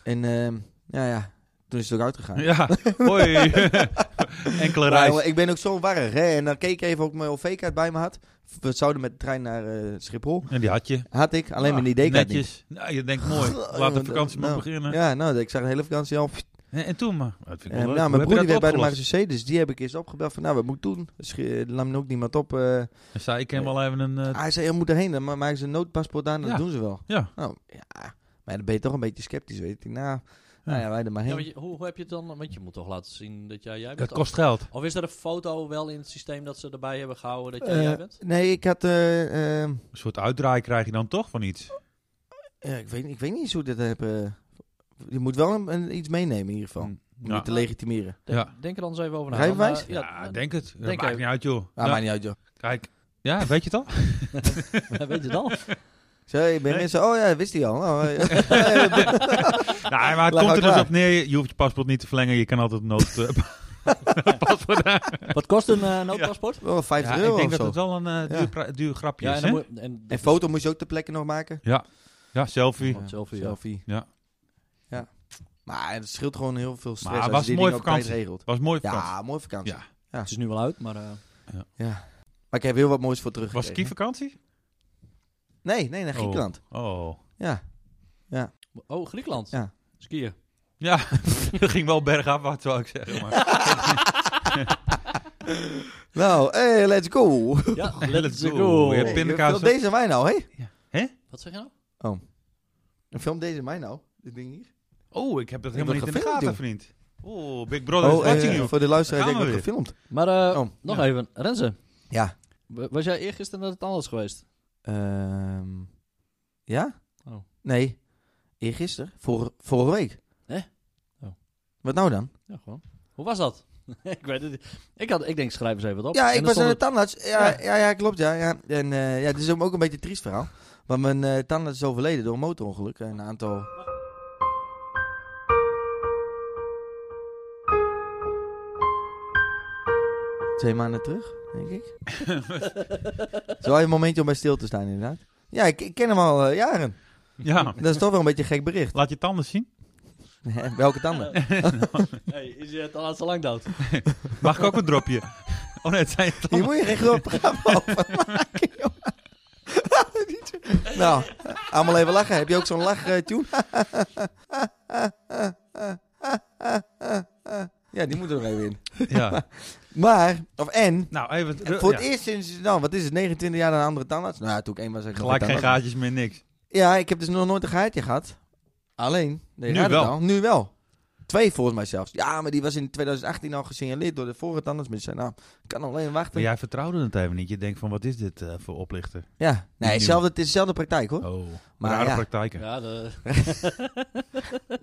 [SPEAKER 1] En ehm, ja, ja, toen is het ook uitgegaan.
[SPEAKER 2] Ja, hoi. Enkele
[SPEAKER 1] Maar,
[SPEAKER 2] reis.
[SPEAKER 1] jongen, ik ben ook zo warrig, hè. En dan keek ik even of ik mijn OV-kaart bij me had. We zouden met de trein naar eh, Schiphol.
[SPEAKER 2] En die had je.
[SPEAKER 1] Had ik, alleen
[SPEAKER 2] Ja,
[SPEAKER 1] mijn ID-kaart niet.
[SPEAKER 2] Netjes. Nou, je denkt mooi.
[SPEAKER 1] Oh,
[SPEAKER 2] Laat de
[SPEAKER 1] jongen,
[SPEAKER 2] vakantie maar
[SPEAKER 1] nou,
[SPEAKER 2] beginnen.
[SPEAKER 1] Ja, nou, ik zag de hele vakantie al.
[SPEAKER 2] En, en toen maar. Dat vind ik wel
[SPEAKER 1] Eh,
[SPEAKER 2] leuk.
[SPEAKER 1] nou,
[SPEAKER 2] Hoe
[SPEAKER 1] mijn
[SPEAKER 2] heb
[SPEAKER 1] broer
[SPEAKER 2] je
[SPEAKER 1] die werd
[SPEAKER 2] dat
[SPEAKER 1] bij de
[SPEAKER 2] opgelost?
[SPEAKER 1] Marseille, dus die heb ik eerst opgebeld van, nou, wat moet ik doen? Sch- eh, Laat me ook niemand op. eh.
[SPEAKER 2] Dan zei ik hem wel even een... eh,
[SPEAKER 1] hij zei, je moet erheen, dan ma- maken ze een noodpaspoort aan, dat
[SPEAKER 2] Ja.
[SPEAKER 1] doen ze wel.
[SPEAKER 2] ja.
[SPEAKER 1] Nou, ja, maar dan ben je toch een beetje sceptisch, weet je. Nou, nou
[SPEAKER 2] Ja.
[SPEAKER 1] ja, wij er maar
[SPEAKER 3] Ja,
[SPEAKER 1] heen.
[SPEAKER 3] maar je- hoe, hoe heb je het dan? Want je moet toch laten zien dat jij, jij bent.
[SPEAKER 2] Dat kost geld.
[SPEAKER 3] Of is er een foto wel in het systeem dat ze erbij hebben gehouden dat jij,
[SPEAKER 1] Eh,
[SPEAKER 3] jij bent?
[SPEAKER 1] Nee, ik had. eh, ehm,
[SPEAKER 2] Een soort uitdraai krijg je dan toch van iets.
[SPEAKER 1] ja, ik, weet, ik weet niet eens hoe ik dat heb. eh, je moet wel een, een- iets meenemen in ieder geval. Om
[SPEAKER 2] Ja,
[SPEAKER 1] je te legitimeren.
[SPEAKER 3] Denk,
[SPEAKER 2] ja.
[SPEAKER 3] denk er dan eens even over na.
[SPEAKER 1] Rijbewijs?
[SPEAKER 3] Dan, eh,
[SPEAKER 2] ja,
[SPEAKER 3] dan-
[SPEAKER 2] denk het. Dat
[SPEAKER 3] denk
[SPEAKER 2] maakt
[SPEAKER 3] ik.
[SPEAKER 2] niet uit, joh.
[SPEAKER 1] Ah,
[SPEAKER 2] Ja,
[SPEAKER 1] maakt niet uit, joh.
[SPEAKER 2] Kijk. Ja, weet je het al?
[SPEAKER 3] Weet je dan?
[SPEAKER 1] Zo, je bent
[SPEAKER 2] Nee.
[SPEAKER 1] mensen. Oh ja, wist hij al. Oh, eh,
[SPEAKER 2] Nou, maar het
[SPEAKER 1] Lag
[SPEAKER 2] komt
[SPEAKER 1] al
[SPEAKER 2] er dus
[SPEAKER 1] klaar.
[SPEAKER 2] op neer. Je je hoeft je paspoort niet te verlengen. Je kan altijd een nood... eh, paspoort aan.
[SPEAKER 3] Wat kost een eh, noodpaspoort?
[SPEAKER 1] wel 50
[SPEAKER 2] Ja,
[SPEAKER 1] euro
[SPEAKER 2] ik denk
[SPEAKER 1] of
[SPEAKER 2] dat
[SPEAKER 1] zo.
[SPEAKER 2] het wel een eh, duur,
[SPEAKER 1] Ja.
[SPEAKER 2] pra- duur grapje
[SPEAKER 3] Ja,
[SPEAKER 2] is,
[SPEAKER 3] en
[SPEAKER 2] hè?
[SPEAKER 3] dan moet, en,
[SPEAKER 1] En foto moest je ook ter plekke nog maken.
[SPEAKER 2] Ja, selfie.
[SPEAKER 3] Ja, selfie, ja.
[SPEAKER 1] selfie.
[SPEAKER 2] Ja.
[SPEAKER 1] Ja. Maar het scheelt gewoon heel veel stress
[SPEAKER 2] Maar
[SPEAKER 1] als
[SPEAKER 2] was
[SPEAKER 1] je die
[SPEAKER 2] mooie
[SPEAKER 1] dingen op tijd
[SPEAKER 2] vakantie.
[SPEAKER 1] regelt.
[SPEAKER 2] Was mooi vakantie.
[SPEAKER 1] Ja, mooie vakantie.
[SPEAKER 2] Ja.
[SPEAKER 3] het is nu wel uit, maar eh,
[SPEAKER 1] Maar ik heb heel wat moois voor terug.
[SPEAKER 2] Was skivakantie?
[SPEAKER 1] Nee, nee, naar
[SPEAKER 2] Oh.
[SPEAKER 1] Griekenland.
[SPEAKER 2] Oh.
[SPEAKER 1] Ja.
[SPEAKER 3] oh Griekenland.
[SPEAKER 1] Ja.
[SPEAKER 3] Skiën.
[SPEAKER 2] Ja, dat ging wel bergafwaarts, zou ik zeggen. Maar
[SPEAKER 1] Nou, hey, let's go.
[SPEAKER 3] Ja,
[SPEAKER 2] Let's
[SPEAKER 3] let's
[SPEAKER 2] go.
[SPEAKER 3] go.
[SPEAKER 2] Je hebt
[SPEAKER 1] Hey,
[SPEAKER 2] pindakaas
[SPEAKER 1] film deze en mij nou, hé?
[SPEAKER 3] Wat zeg je nou?
[SPEAKER 1] Film deze en mij nou. Dit ding hier.
[SPEAKER 2] oh, ik heb dat
[SPEAKER 1] Ik
[SPEAKER 2] helemaal niet
[SPEAKER 1] word
[SPEAKER 2] in de
[SPEAKER 1] gefilmd,
[SPEAKER 2] gaten,
[SPEAKER 1] joh.
[SPEAKER 2] vriend. Oh, Big Brother is
[SPEAKER 1] eh,
[SPEAKER 2] watching you.
[SPEAKER 1] voor de luisteraar
[SPEAKER 2] Daar
[SPEAKER 1] denk ik
[SPEAKER 2] gaan
[SPEAKER 1] dat
[SPEAKER 2] we
[SPEAKER 1] gefilmd.
[SPEAKER 3] Maar eh,
[SPEAKER 1] Oh,
[SPEAKER 3] nog
[SPEAKER 2] ja.
[SPEAKER 3] even, Renze,
[SPEAKER 1] Ja.
[SPEAKER 3] wa- was jij eergisteren naar het anders geweest?
[SPEAKER 1] Ehm ja?
[SPEAKER 3] Oh.
[SPEAKER 1] Nee. Eergisteren? Vor, vorige week.
[SPEAKER 3] Hè? Oh.
[SPEAKER 1] Wat nou dan?
[SPEAKER 3] Ja, gewoon. Hoe was dat? ik weet het niet. Ik, had, ik denk, schrijf eens even wat op.
[SPEAKER 1] ja,
[SPEAKER 3] En
[SPEAKER 1] ik
[SPEAKER 3] dan
[SPEAKER 1] was
[SPEAKER 3] stond
[SPEAKER 1] naar de
[SPEAKER 3] het-
[SPEAKER 1] tandarts. Ja,
[SPEAKER 3] Ja.
[SPEAKER 1] ja. Ja, klopt. Ja, ja. En eh, ja, dit is ook een beetje een triest verhaal. Want mijn eh, tandarts is overleden door een motorongeluk. Een aantal... Twee maanden terug, denk ik. Het is wel een momentje om bij stil te staan, inderdaad. Ja, ik, ik ken hem al eh, jaren.
[SPEAKER 2] Ja,
[SPEAKER 1] Dat is toch wel een beetje een gek bericht.
[SPEAKER 2] laat je tanden zien.
[SPEAKER 1] Nee, Welke tanden?
[SPEAKER 3] Hey, is je het al zo lang dood?
[SPEAKER 2] Mag ik ook een dropje? Oh nee, het zijn je
[SPEAKER 1] Hier
[SPEAKER 2] tanden.
[SPEAKER 1] moet je geen groot programma over maken, jongen. Niet zo- nou, allemaal even lachen. Heb je ook zo'n eh, lachtune? ja, die moet er nog even in.
[SPEAKER 2] Ja.
[SPEAKER 1] Maar, of en,
[SPEAKER 2] Nou, even...
[SPEAKER 1] voor
[SPEAKER 2] ja,
[SPEAKER 1] het eerst sinds, nou wat is het, 29 jaar naar een andere tandarts? Nou ja, toen ik één was, had ik nog
[SPEAKER 2] gelijk geen
[SPEAKER 1] tandarts.
[SPEAKER 2] gaatjes meer, niks.
[SPEAKER 1] Ja, ik heb dus nog nooit een gaatje gehad. Alleen, nee,
[SPEAKER 2] Nu
[SPEAKER 1] raad het
[SPEAKER 2] wel.
[SPEAKER 1] al, nu wel. Twee volgens mij zelfs. Ja, maar die was in 2018 al gesignaleerd door de vorige tandarts. Met zijn naam. Ik kan alleen wachten.
[SPEAKER 2] Maar
[SPEAKER 1] Ja,
[SPEAKER 2] jij vertrouwde het even niet. Je denkt van, wat is dit eh, voor oplichter?
[SPEAKER 1] nee,
[SPEAKER 2] Niet
[SPEAKER 1] hetzelfde, het is dezelfde praktijk hoor.
[SPEAKER 2] Oh,
[SPEAKER 1] Maar
[SPEAKER 2] rare
[SPEAKER 1] ja.
[SPEAKER 2] praktijken.
[SPEAKER 3] Ja, de,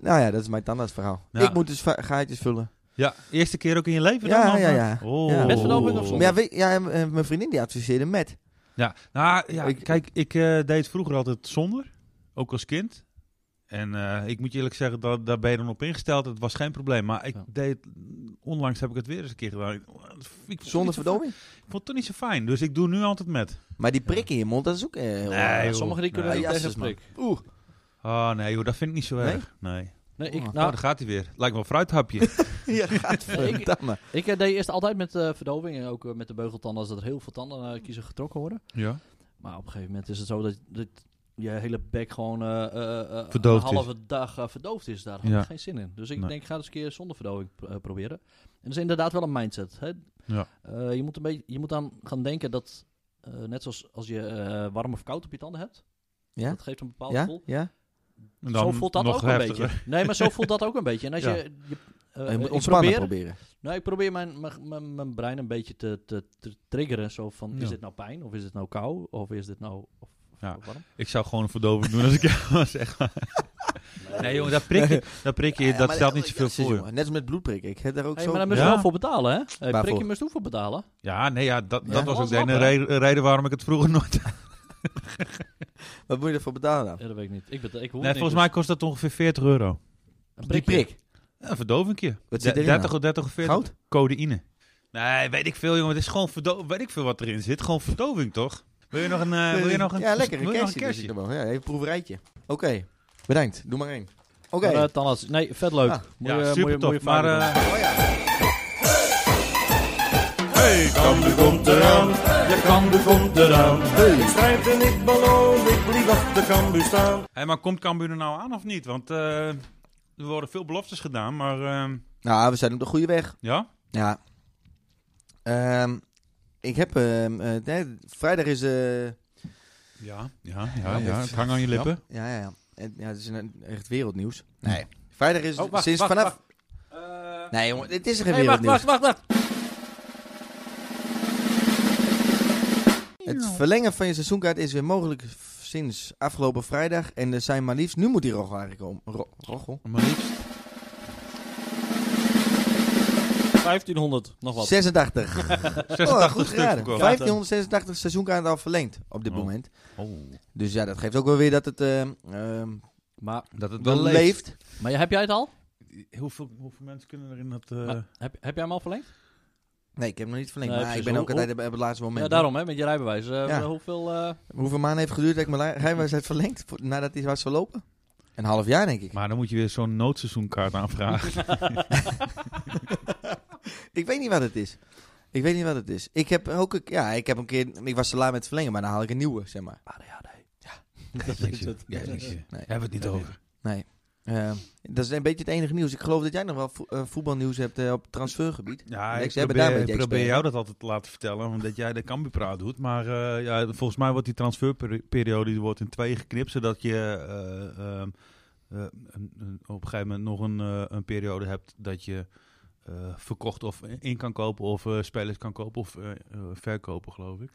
[SPEAKER 1] Nou ja, dat is mijn tandartsverhaal.
[SPEAKER 2] Oh. Ja.
[SPEAKER 1] Ik moet dus va- gaatjes vullen.
[SPEAKER 2] Ja, eerste keer ook in je leven
[SPEAKER 1] Ja,
[SPEAKER 2] dan? of,
[SPEAKER 1] ja,
[SPEAKER 2] eh?
[SPEAKER 1] ja.
[SPEAKER 2] Oh.
[SPEAKER 1] Ja. Met
[SPEAKER 3] verdoving of
[SPEAKER 1] Maar
[SPEAKER 3] zonder?
[SPEAKER 1] ja, weet, ja, en, eh, mijn vriendin die adviseerde met.
[SPEAKER 2] Ja, nou ja,
[SPEAKER 1] Ik-
[SPEAKER 2] kijk, ik eh, deed vroeger altijd zonder, ook als kind. En eh, ik moet je eerlijk zeggen, dat, daar ben je dan op ingesteld. Het was geen probleem. Maar ik
[SPEAKER 3] Ja.
[SPEAKER 2] deed, onlangs heb ik het weer eens een keer gedaan. Ik, ik vond het niet
[SPEAKER 1] Zonder
[SPEAKER 2] zo-
[SPEAKER 1] verdoming.
[SPEAKER 2] Ik vond het toch niet zo fijn. Dus ik doe nu altijd met.
[SPEAKER 1] Maar die prik in je mond, dat is ook eh, heel...
[SPEAKER 2] Nee,
[SPEAKER 3] ja,
[SPEAKER 2] joh.
[SPEAKER 3] sommigen die kunnen
[SPEAKER 2] Nee,
[SPEAKER 3] niet tegen
[SPEAKER 1] jasses,
[SPEAKER 3] een
[SPEAKER 1] man.
[SPEAKER 3] prik.
[SPEAKER 1] Oeh.
[SPEAKER 2] Oh nee joh, dat vind ik niet zo
[SPEAKER 1] Nee?
[SPEAKER 2] erg. Nee.
[SPEAKER 3] Nee, ik,
[SPEAKER 1] Oh,
[SPEAKER 2] Nou,
[SPEAKER 3] nou,
[SPEAKER 2] daar gaat hij weer. Lijkt wel een fruithapje.
[SPEAKER 1] Ja, gadverdamme.
[SPEAKER 3] ik eh, deed eerst altijd met eh, verdoving en ook eh, met de beugeltanden, als dat er heel veel tanden kiezen getrokken worden.
[SPEAKER 2] ja.
[SPEAKER 3] Maar op een gegeven moment is het zo dat, dat je hele bek gewoon eh, eh, eh,
[SPEAKER 2] Verdoofd
[SPEAKER 3] een halve dag eh, verdoofd is. Daar had
[SPEAKER 2] Ja.
[SPEAKER 3] ik geen zin in. Dus ik
[SPEAKER 2] Nee.
[SPEAKER 3] denk, ik ga eens een keer zonder verdoving pro- eh, proberen. En dat is inderdaad wel een mindset. Hè?
[SPEAKER 2] Ja.
[SPEAKER 3] Eh, je, moet een beetje, je moet aan gaan denken dat, eh, net zoals als je eh, warm of koud op je tanden hebt,
[SPEAKER 1] Ja?
[SPEAKER 3] dat geeft een bepaald
[SPEAKER 1] Ja?
[SPEAKER 3] gevoel.
[SPEAKER 1] Ja?
[SPEAKER 2] En
[SPEAKER 3] Zo voelt dat
[SPEAKER 2] nog
[SPEAKER 3] ook een
[SPEAKER 2] heftiger.
[SPEAKER 3] beetje. Nee, maar zo voelt dat ook een beetje. En als
[SPEAKER 2] Ja.
[SPEAKER 3] je... je eh,
[SPEAKER 1] Je moet
[SPEAKER 3] ik
[SPEAKER 1] ontspannen
[SPEAKER 3] probeer-
[SPEAKER 1] proberen.
[SPEAKER 3] nou, ik probeer mijn, mijn, mijn, mijn brein een beetje te, te, te triggeren. Zo van,
[SPEAKER 2] Ja.
[SPEAKER 3] is dit nou pijn? Of is dit nou kou? Of is dit nou of, of
[SPEAKER 2] Ja.
[SPEAKER 3] warm?
[SPEAKER 2] Ik zou gewoon een verdoving doen als ik jou was. echt waar. Nee jongen, dat prik je, dat, prik je,
[SPEAKER 1] Ja,
[SPEAKER 2] dat
[SPEAKER 1] maar-
[SPEAKER 2] stelt niet zoveel
[SPEAKER 1] Jezus,
[SPEAKER 2] voor.
[SPEAKER 1] jongen, Net als met bloedprik. Ik heb daar ook
[SPEAKER 3] Hey,
[SPEAKER 1] zo...
[SPEAKER 3] maar daar moest je
[SPEAKER 2] Ja.
[SPEAKER 3] wel voor betalen, hè? Hey, prik,
[SPEAKER 1] Waarvoor?
[SPEAKER 3] je moest ook voor betalen.
[SPEAKER 2] Ja, nee, ja, dat,
[SPEAKER 1] Ja.
[SPEAKER 2] dat was ook de
[SPEAKER 3] Alles
[SPEAKER 2] ene
[SPEAKER 3] wat, hè?
[SPEAKER 2] reden- reden waarom ik het vroeger nooit
[SPEAKER 1] Wat moet je ervoor betalen dan?
[SPEAKER 3] Ja, dat weet ik niet. Ik, beta- ik hoef
[SPEAKER 2] Nee,
[SPEAKER 3] het
[SPEAKER 2] volgens
[SPEAKER 3] niet,
[SPEAKER 2] mij kost dat ongeveer 40 euro.
[SPEAKER 3] dus-
[SPEAKER 1] Die
[SPEAKER 3] Een prikje.
[SPEAKER 1] prik.
[SPEAKER 2] Een verdovingje.
[SPEAKER 1] Wat
[SPEAKER 2] De-
[SPEAKER 1] zit erin
[SPEAKER 2] 30
[SPEAKER 1] dan?
[SPEAKER 2] of 30 of 40
[SPEAKER 1] Goud?
[SPEAKER 2] codeïne. Nee, weet ik veel, jongen. Het is gewoon verdoving. Weet ik veel wat erin zit. Gewoon verdoving, toch? Wil je nog een, eh, wil je nog een,
[SPEAKER 1] Ja, lekker. Een
[SPEAKER 2] wil je nog een
[SPEAKER 1] kerstje. dus ik
[SPEAKER 2] kerstje?
[SPEAKER 1] heb wel- Ja, even een proeverijtje. Oké. Bedankt. Doe maar één. Oké.
[SPEAKER 3] Maar, eh, tandarts- nee, vet leuk.
[SPEAKER 1] Ah,
[SPEAKER 3] Moet
[SPEAKER 2] ja,
[SPEAKER 3] je-
[SPEAKER 2] super
[SPEAKER 3] moet je-
[SPEAKER 2] tof.
[SPEAKER 3] moet je
[SPEAKER 2] maar
[SPEAKER 3] vaker
[SPEAKER 2] eh,
[SPEAKER 3] doen.
[SPEAKER 1] Oh ja.
[SPEAKER 5] Hey, Kampen komt eraan, de Kampen komt eraan. Hey. Ik strijd en ik beloof, ik blijf achter Kampen staan.
[SPEAKER 2] hey, maar komt Cambuur er nou aan of niet? Want eh, er worden veel beloftes gedaan, maar ehm,
[SPEAKER 1] Nou, we zijn op de goede weg.
[SPEAKER 2] ja.
[SPEAKER 1] Ja. Ehm, ik heb... ehm, eh, nee, vrijdag is... eh,
[SPEAKER 2] Ja, ja,
[SPEAKER 1] Ja,
[SPEAKER 2] ja, ja.
[SPEAKER 1] dit-
[SPEAKER 2] Het hangt aan je lippen.
[SPEAKER 1] ja, ja, ja. En, ja, het is een, echt wereldnieuws. Nee. Vrijdag is
[SPEAKER 2] Oh, wacht,
[SPEAKER 1] sinds
[SPEAKER 2] wacht,
[SPEAKER 1] vanaf...
[SPEAKER 2] Eh,
[SPEAKER 1] Nee, jongen. Dit is geen
[SPEAKER 3] Hey, wacht,
[SPEAKER 1] wereldnieuws.
[SPEAKER 3] wacht, wacht, wacht.
[SPEAKER 1] Het verlengen van je seizoenkaart is weer mogelijk f- sinds afgelopen vrijdag. En er zijn maar liefst... Nu moet die roggel eigenlijk om. Ro- roggel?
[SPEAKER 2] maar liefst. eh,
[SPEAKER 3] 1500, nog wat.
[SPEAKER 1] 86. Oh,
[SPEAKER 2] 86
[SPEAKER 1] goed
[SPEAKER 2] stuk
[SPEAKER 1] geraden.
[SPEAKER 2] verkocht.
[SPEAKER 1] 1586 seizoenkaart al verlengd op dit
[SPEAKER 2] Oh.
[SPEAKER 1] moment.
[SPEAKER 2] Oh,
[SPEAKER 1] Dus ja, dat geeft ook wel weer dat het ehm, ehm,
[SPEAKER 3] Maar,
[SPEAKER 2] dat het wel
[SPEAKER 1] wel
[SPEAKER 2] leeft.
[SPEAKER 1] leeft.
[SPEAKER 3] maar heb jij het al?
[SPEAKER 2] Hoeveel, hoeveel mensen kunnen er in dat... eh,
[SPEAKER 3] Maar heb, heb jij hem al verlengd?
[SPEAKER 1] Nee, ik heb hem nog niet verlengd.
[SPEAKER 3] Nee,
[SPEAKER 1] maar ik
[SPEAKER 3] precies.
[SPEAKER 1] ben ook
[SPEAKER 3] Hoe-
[SPEAKER 1] altijd op op het laatste moment.
[SPEAKER 3] Ja, daarom, hè, met je rijbewijs. Eh,
[SPEAKER 1] Ja.
[SPEAKER 3] Hoeveel... eh,
[SPEAKER 1] Hoeveel maanden heeft het geduurd dat ik mijn li- rijbewijs had verlengd vo- nadat hij was verlopen? Een half jaar, denk ik.
[SPEAKER 2] Maar dan moet je weer zo'n noodseizoenkaart aanvragen.
[SPEAKER 1] Ik weet niet wat het is. Ik weet niet wat het is. Ik heb ook een, ja, ik heb een keer, ik was te laat met het verlengen, maar dan haal ik een nieuwe, zeg maar.
[SPEAKER 3] ah, ja, nee.
[SPEAKER 2] Dat
[SPEAKER 3] is het.
[SPEAKER 1] Nee.
[SPEAKER 2] Hebben we het niet over.
[SPEAKER 1] Nee. Ehm, dat is een beetje het enige nieuws. Ik geloof dat jij nog wel vo- eh, voetbalnieuws hebt eh, op het transfergebied.
[SPEAKER 2] Ja,
[SPEAKER 1] Lex,
[SPEAKER 2] ik
[SPEAKER 1] jij bent daar een
[SPEAKER 2] probeer, ik
[SPEAKER 1] beetje
[SPEAKER 2] probeer
[SPEAKER 1] expert,
[SPEAKER 2] jou dat altijd te laten vertellen, omdat jij de Cambuurpraat doet. Maar eh, ja, volgens mij wordt die transferperiode die wordt in twee geknipt, zodat je eh, ehm, eh, een- een- op een gegeven moment nog een, eh, een periode hebt dat je eh, verkocht of in kan kopen of eh, spelers kan kopen of eh, eh, verkopen, geloof ik.